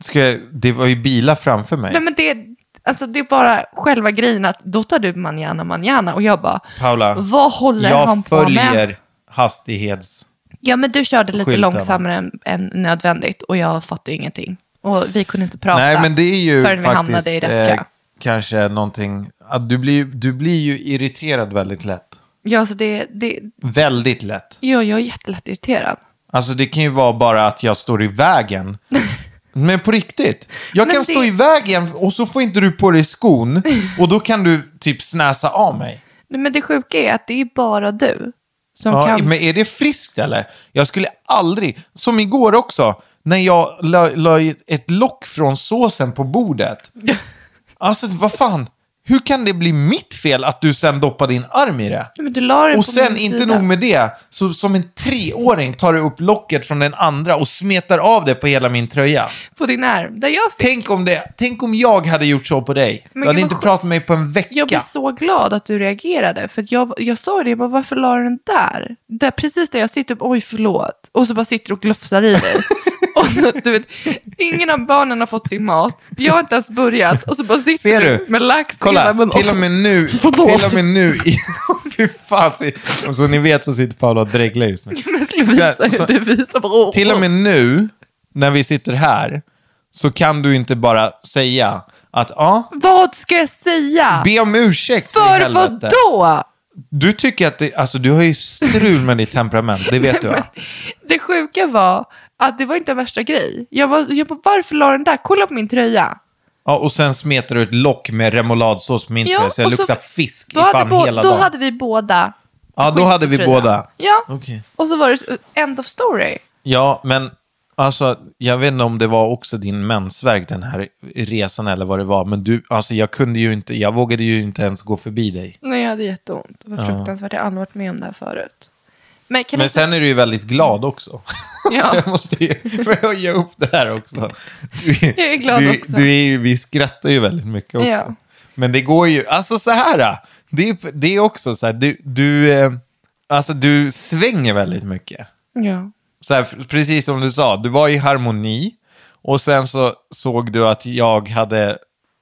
[SPEAKER 6] Ska jag, det var ju bilar framför mig.
[SPEAKER 5] Nej, men det, alltså, det är bara själva grejen att då tar du manjana manjana och jag bara,
[SPEAKER 6] Paula,
[SPEAKER 5] vad håller han
[SPEAKER 6] jag
[SPEAKER 5] på med?
[SPEAKER 6] följer hastighets...
[SPEAKER 5] Ja, men du körde lite
[SPEAKER 6] skyltarna.
[SPEAKER 5] långsammare än, än nödvändigt och jag fattade ingenting. Och vi kunde inte prata
[SPEAKER 6] Nej, men det är ju
[SPEAKER 5] förrän vi
[SPEAKER 6] faktiskt
[SPEAKER 5] hamnade i rätt kö.
[SPEAKER 6] eh, kanske någonting... Att du, blir, ju- du blir ju irriterad väldigt lätt.
[SPEAKER 5] Ja, så det, det,
[SPEAKER 6] Väldigt lätt.
[SPEAKER 5] ja, jag är jättelätt irriterad.
[SPEAKER 6] Alltså det kan ju vara bara att jag står i vägen. Men på riktigt. Jag
[SPEAKER 5] Men
[SPEAKER 6] kan
[SPEAKER 5] det-
[SPEAKER 6] stå i vägen och så får inte du på dig skon. Och då kan du typ snäsa av mig.
[SPEAKER 5] Nej, Men det sjuka är att det är bara du. Som
[SPEAKER 6] ja,
[SPEAKER 5] kan...
[SPEAKER 6] Men är det friskt eller? Jag skulle aldrig, som igår också, när jag la, la ett lock från såsen på bordet. Alltså, vad fan? Hur kan det bli mitt fel att du sen doppar din arm i det?
[SPEAKER 5] Men du la den
[SPEAKER 6] Och
[SPEAKER 5] på
[SPEAKER 6] sen,
[SPEAKER 5] min
[SPEAKER 6] inte
[SPEAKER 5] sida.
[SPEAKER 6] nog med det, så som en treåring tar du upp locket från den andra och smetar av det på hela min tröja.
[SPEAKER 5] På din arm. Där jag fick...
[SPEAKER 6] Tänk om, det, tänk om jag hade gjort så på dig.
[SPEAKER 5] Men
[SPEAKER 6] du hade
[SPEAKER 5] gud,
[SPEAKER 6] inte
[SPEAKER 5] vad skönt.
[SPEAKER 6] pratat med mig på en vecka.
[SPEAKER 5] Jag blev så glad att du reagerade. För att jag, jag sa det, jag bara, varför la du den där? där? Precis där jag sitter, bara, oj förlåt. Och så bara sitter du och glufsar i dig. och så, du vet, ingen av barnen har fått sin mat. Jag har inte ens börjat. Och så bara sitter
[SPEAKER 6] Ser du?
[SPEAKER 5] med lax i hela
[SPEAKER 6] Kolla,
[SPEAKER 5] munnen.
[SPEAKER 6] till och med nu.
[SPEAKER 5] Förlåt.
[SPEAKER 6] Till och med nu. i- Fy fan. se- Och så ni vet så sitter Paula och dreglar just nu.
[SPEAKER 5] Jag skulle visa
[SPEAKER 6] Så- så-
[SPEAKER 5] hur du visar. Bara, åh,
[SPEAKER 6] Till och
[SPEAKER 5] åh.
[SPEAKER 6] med nu, när vi sitter här, så kan du inte bara säga att ja,
[SPEAKER 5] Vad ska jag säga?
[SPEAKER 6] be om ursäkt i
[SPEAKER 5] Ah. för
[SPEAKER 6] helvete.
[SPEAKER 5] vad då?
[SPEAKER 6] Du tycker att det, alltså du har ju strul med ditt temperament, det vet du va?
[SPEAKER 5] Det sjuka var att det var inte värsta grej. Jag, var, jag bara, varför la den där? Kolla på min tröja.
[SPEAKER 6] Ja, och sen smetar du ett lock med remouladsås på min
[SPEAKER 5] Ja,
[SPEAKER 6] tröja, så
[SPEAKER 5] och
[SPEAKER 6] jag
[SPEAKER 5] så-
[SPEAKER 6] luktar fisk i
[SPEAKER 5] Då, hade,
[SPEAKER 6] fan
[SPEAKER 5] bå-
[SPEAKER 6] hela
[SPEAKER 5] då
[SPEAKER 6] dagen.
[SPEAKER 5] hade vi båda
[SPEAKER 6] Ja, då hade vi
[SPEAKER 5] skittröja.
[SPEAKER 6] båda.
[SPEAKER 5] Ja,
[SPEAKER 6] Okej.
[SPEAKER 5] och så var det end of story.
[SPEAKER 6] Ja, men alltså, jag vet inte om det var också din mensvärk den här resan eller vad det var, men du, alltså jag kunde ju inte, jag vågade ju inte ens gå förbi dig.
[SPEAKER 5] Nej, jag hade jätteont. Det var fruktansvärt. Jag har aldrig varit med om det här förut. Men kan
[SPEAKER 6] Men
[SPEAKER 5] inte-
[SPEAKER 6] sen är du ju väldigt glad också.
[SPEAKER 5] Ja.
[SPEAKER 6] Så jag måste ju höja upp det här också. Du,
[SPEAKER 5] Jag är glad
[SPEAKER 6] du,
[SPEAKER 5] också.
[SPEAKER 6] Du är ju, vi skrattar ju väldigt mycket också.
[SPEAKER 5] Ja.
[SPEAKER 6] Men det går ju, alltså så här, det är, det är också så här, du, du, eh, alltså du svänger väldigt mycket.
[SPEAKER 5] Ja.
[SPEAKER 6] så här, precis som du sa, du var i harmoni och sen så såg du att jag hade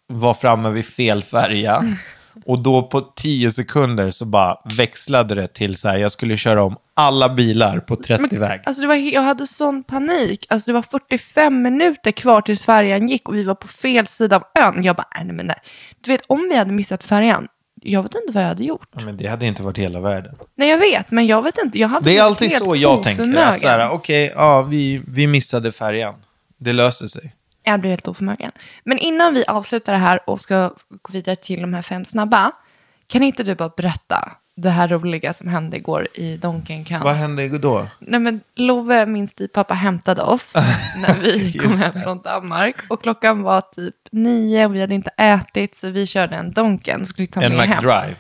[SPEAKER 6] var framme vid fel färja. Och då på tio sekunder så bara växlade det till så här, jag skulle köra om alla bilar på 30-väg.
[SPEAKER 5] Alltså det var, he- jag hade sån panik. Alltså det var 45 minuter kvar tills färjan gick och vi var på fel sida av ön. Jag bara, nej nej, men nej. Du vet, om vi hade missat färjan, jag vet inte vad jag hade gjort.
[SPEAKER 6] Ja, Men det hade inte varit hela världen.
[SPEAKER 5] Nej, jag vet, men jag vet inte. Jag hade
[SPEAKER 6] Det är
[SPEAKER 5] varit
[SPEAKER 6] alltid
[SPEAKER 5] helt
[SPEAKER 6] så jag tänker,
[SPEAKER 5] oförmögen.
[SPEAKER 6] att så här, okej, ja, vi, vi missade färjan. Det löser sig.
[SPEAKER 5] Jag blir helt oförmögen. Men innan vi avslutar det här och ska gå vidare till de här fem snabba, kan inte du bara berätta det här roliga som hände igår i Donken
[SPEAKER 6] Vad hände då?
[SPEAKER 5] Nej men Love, min styvpappa, hämtade oss när vi kom
[SPEAKER 6] Just
[SPEAKER 5] hem från Danmark. Och klockan var typ nio och vi hade inte ätit så vi körde en Donken. Skulle ta
[SPEAKER 6] En
[SPEAKER 5] med hem.
[SPEAKER 6] McDrive.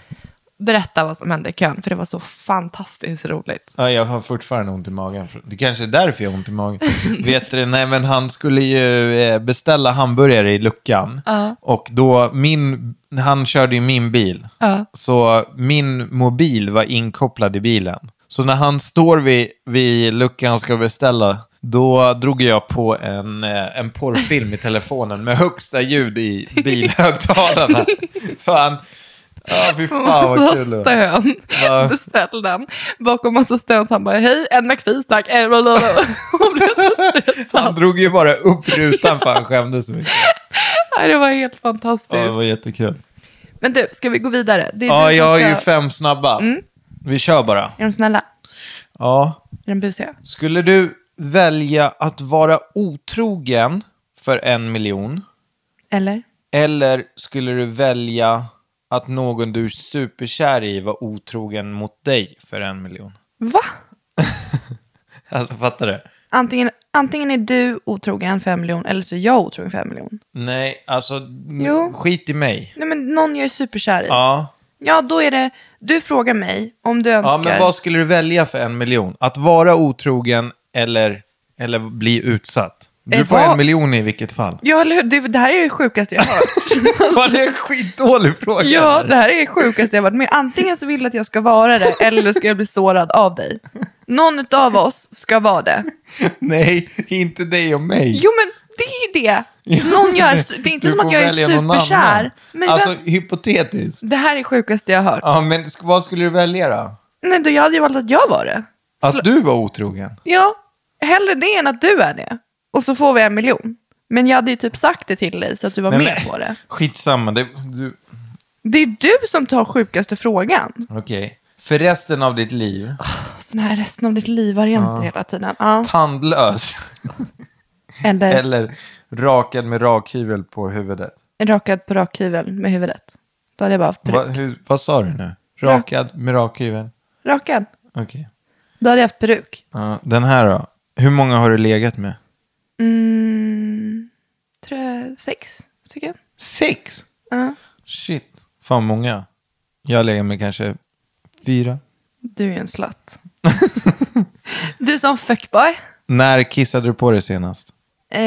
[SPEAKER 5] Berätta vad som hände i kön, för det var så fantastiskt roligt.
[SPEAKER 6] Ja, jag har fortfarande ont i magen. Det kanske är därför jag har ont i magen. Vet du, nej men han skulle ju eh, beställa hamburgare i luckan. Och då, min, han körde ju min bil. Så min mobil var inkopplad i bilen. Så när han står vid, vid luckan och ska beställa, då drog jag på en, eh, en porrfilm i telefonen med högsta ljud i bilhögtalarna. Så han, ja fy fan Ah, vad kul Ah. det var.
[SPEAKER 5] stön. Beställ den. Bakom massa stön så han bara, hej, en McFeast tack. Eh, blablabla. Hon blev så
[SPEAKER 6] Han
[SPEAKER 5] stressad.
[SPEAKER 6] drog ju bara upp rutan för han skämdes så mycket.
[SPEAKER 5] Nej, Det var helt
[SPEAKER 6] Ja, det
[SPEAKER 5] fantastiskt.
[SPEAKER 6] var jättekul.
[SPEAKER 5] Men du, ska vi gå vidare? Det är
[SPEAKER 6] Ja,
[SPEAKER 5] du som
[SPEAKER 6] Ah, jag har
[SPEAKER 5] ska...
[SPEAKER 6] ju fem snabba. Vi kör bara.
[SPEAKER 5] Är de snälla?
[SPEAKER 6] Ja.
[SPEAKER 5] Är de busiga?
[SPEAKER 6] Skulle du välja att vara otrogen för en miljon?
[SPEAKER 5] Eller?
[SPEAKER 6] Eller skulle du välja att någon du är superkär i var otrogen mot dig för en miljon?
[SPEAKER 5] Va?
[SPEAKER 6] Alltså, fattar du?
[SPEAKER 5] Antingen, antingen är du otrogen 5 miljoner eller så är jag otrogen 5 miljoner.
[SPEAKER 6] Nej, alltså n-
[SPEAKER 5] Jo.
[SPEAKER 6] skit i mig.
[SPEAKER 5] Nej men någon jag är superkär i. Ja.
[SPEAKER 6] Ja.
[SPEAKER 5] då är det, du frågar mig om du önskar.
[SPEAKER 6] Ja, men vad skulle du välja för en miljon? Att vara otrogen eller, eller bli utsatt? Du
[SPEAKER 5] Eh,
[SPEAKER 6] får
[SPEAKER 5] vad-
[SPEAKER 6] en miljon i vilket fall.
[SPEAKER 5] Ja, eller hur? Det, det här är det sjukaste jag har hört.
[SPEAKER 6] Var det en skitdålig fråga?
[SPEAKER 5] Alltså, ja,
[SPEAKER 6] eller?
[SPEAKER 5] det här är det sjukaste jag varit med Antingen så vill du att jag ska vara det eller ska jag bli sårad av dig. Någon av oss ska vara det.
[SPEAKER 6] Nej, inte dig och mig.
[SPEAKER 5] Jo men det är ju det. Någon gör, det är inte
[SPEAKER 6] Du
[SPEAKER 5] som att
[SPEAKER 6] får
[SPEAKER 5] jag är
[SPEAKER 6] välja någon annan.
[SPEAKER 5] superkär. Men
[SPEAKER 6] alltså,
[SPEAKER 5] vem-
[SPEAKER 6] hypotetiskt.
[SPEAKER 5] det här är det sjukaste jag har hört.
[SPEAKER 6] Ja, men sk- vad skulle du välja då?
[SPEAKER 5] Nej, då jag hade ju valt att jag var det.
[SPEAKER 6] Att du var otrogen?
[SPEAKER 5] Ja, hellre det än att du är det. Och så får vi en miljon. Men jag hade ju typ sagt det till dig så att du var
[SPEAKER 6] Nej,
[SPEAKER 5] med
[SPEAKER 6] men-
[SPEAKER 5] på det.
[SPEAKER 6] Skitsamma. Det, du,
[SPEAKER 5] Det är du som tar sjukaste frågan.
[SPEAKER 6] Okej. För resten av ditt liv,
[SPEAKER 5] Sån här resten av ditt liv varianter hela tiden. Ja.
[SPEAKER 6] tandlös
[SPEAKER 5] Eller,
[SPEAKER 6] eller rakad med rakhyvel på huvudet?
[SPEAKER 5] rakad på rakhyvel med huvudet. Då hade jag bara haft peruk.
[SPEAKER 6] Va, hur, vad sa du nu? Rakad med rakhyveln?
[SPEAKER 5] Rakad.
[SPEAKER 6] Okej.
[SPEAKER 5] Då hade jag haft peruk.
[SPEAKER 6] Ja, den här då? Hur många har du legat med?
[SPEAKER 5] Mm, tre, sex stycken.
[SPEAKER 6] Sex?
[SPEAKER 5] Ja.
[SPEAKER 6] Shit. Fan många. Jag lägger mig kanske fyra.
[SPEAKER 5] Du är ju en slatt. du som fuckboy.
[SPEAKER 6] När kissade du på dig senast?
[SPEAKER 5] Eh,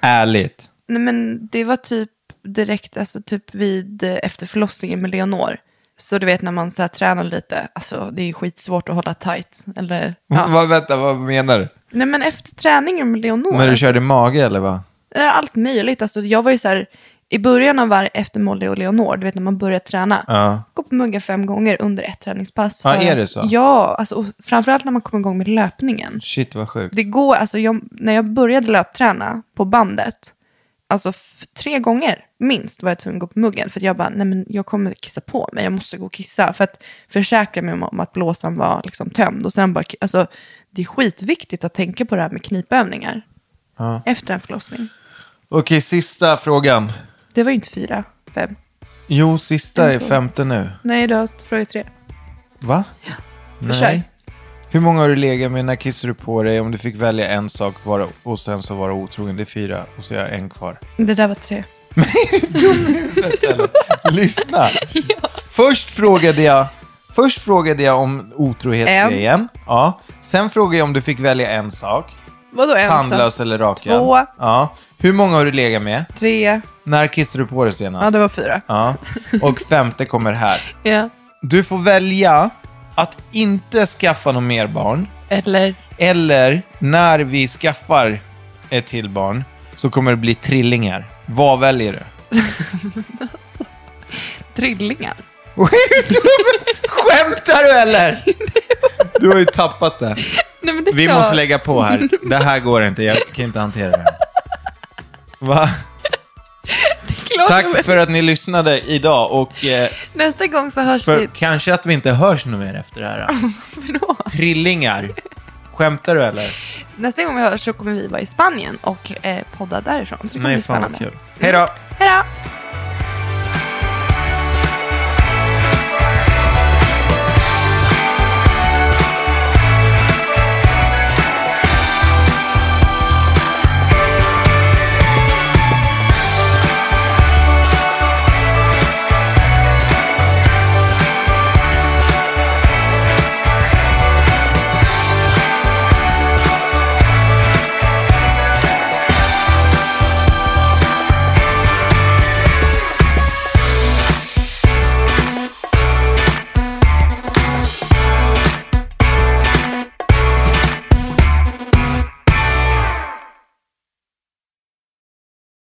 [SPEAKER 6] Ärligt.
[SPEAKER 5] nej men det var typ direkt, alltså typ vid eh, efter förlossningen med Leonor. Så du vet när man så här tränar lite, alltså det är ju skitsvårt att hålla tight. Eller, ja.
[SPEAKER 6] Vad, vänta, vad menar du?
[SPEAKER 5] Nej men efter träningen med Leonor.
[SPEAKER 6] När du
[SPEAKER 5] alltså,
[SPEAKER 6] körde mage eller vad?
[SPEAKER 5] eh, Allt möjligt, alltså jag var ju så här, i början av varje efter Molly och Leonor, du vet när man börjar träna.
[SPEAKER 6] Ja.
[SPEAKER 5] Gå på muggen fem gånger under ett träningspass.
[SPEAKER 6] Ja,
[SPEAKER 5] för-
[SPEAKER 6] är det så?
[SPEAKER 5] Ja, alltså, och framförallt när man kommer igång med löpningen.
[SPEAKER 6] Shit vad sjukt.
[SPEAKER 5] Det går, alltså jag, när jag började löpträna på bandet, alltså f- tre gånger minst var jag tvungen att gå på muggen. För att jag bara, nej men jag kommer kissa på mig, jag måste gå och kissa. För att försäkra mig om, om att blåsan var liksom tömd. Och sen bara, alltså det är skitviktigt att tänka på det här med knipövningar. Efter en förlossning.
[SPEAKER 6] Okej, sista frågan.
[SPEAKER 5] Det var ju inte fyra, fem.
[SPEAKER 6] Jo, sista är femte nu.
[SPEAKER 5] Nej, du har fråga tre.
[SPEAKER 6] Va?
[SPEAKER 5] Kör.
[SPEAKER 6] Nej. Hur många har du legat med? När kissade du på dig? Om du fick välja en sak bara, och sen så var du otrogen. Det är fyra och så är jag en kvar.
[SPEAKER 5] Det där var tre.
[SPEAKER 6] Lyssna! Först frågade jag Först frågade jag om otrohetsgrejen. Ja. Sen frågade jag om du fick välja en sak.
[SPEAKER 5] Vadå en
[SPEAKER 6] Tandlös eller rakad.
[SPEAKER 5] Två.
[SPEAKER 6] Ja. Hur många har du legat med?
[SPEAKER 5] Tre.
[SPEAKER 6] När kissade du på dig
[SPEAKER 5] Ja,
[SPEAKER 6] senast?
[SPEAKER 5] det var fyra.
[SPEAKER 6] Ja. Och femte kommer här.
[SPEAKER 5] Ja.
[SPEAKER 6] Du får välja att inte skaffa något mer barn.
[SPEAKER 5] Eller?
[SPEAKER 6] Eller när vi skaffar ett till barn så kommer det bli trillingar. Vad väljer du?
[SPEAKER 5] Trillingar.
[SPEAKER 6] Är du dum? Skämtar du eller? Du har ju tappat det.
[SPEAKER 5] Nej, men det är
[SPEAKER 6] Vi
[SPEAKER 5] klart.
[SPEAKER 6] måste lägga på här. Det här går inte. Jag kan inte hantera det. här. Va?
[SPEAKER 5] Klart, men
[SPEAKER 6] Tack för att ni lyssnade idag och eh,
[SPEAKER 5] Nästa gång så hörs
[SPEAKER 6] för
[SPEAKER 5] vi.
[SPEAKER 6] kanske att vi inte hörs nu mer efter det här.
[SPEAKER 5] Förlåt.
[SPEAKER 6] Trillingar. Skämtar du eller?
[SPEAKER 5] Nästa gång vi hörs så kommer vi vara i Spanien och eh, podda därifrån. Så det kommer
[SPEAKER 6] Nej,
[SPEAKER 5] bli
[SPEAKER 6] fan
[SPEAKER 5] spännande.
[SPEAKER 6] vad kul. Hej då.
[SPEAKER 5] Hej då!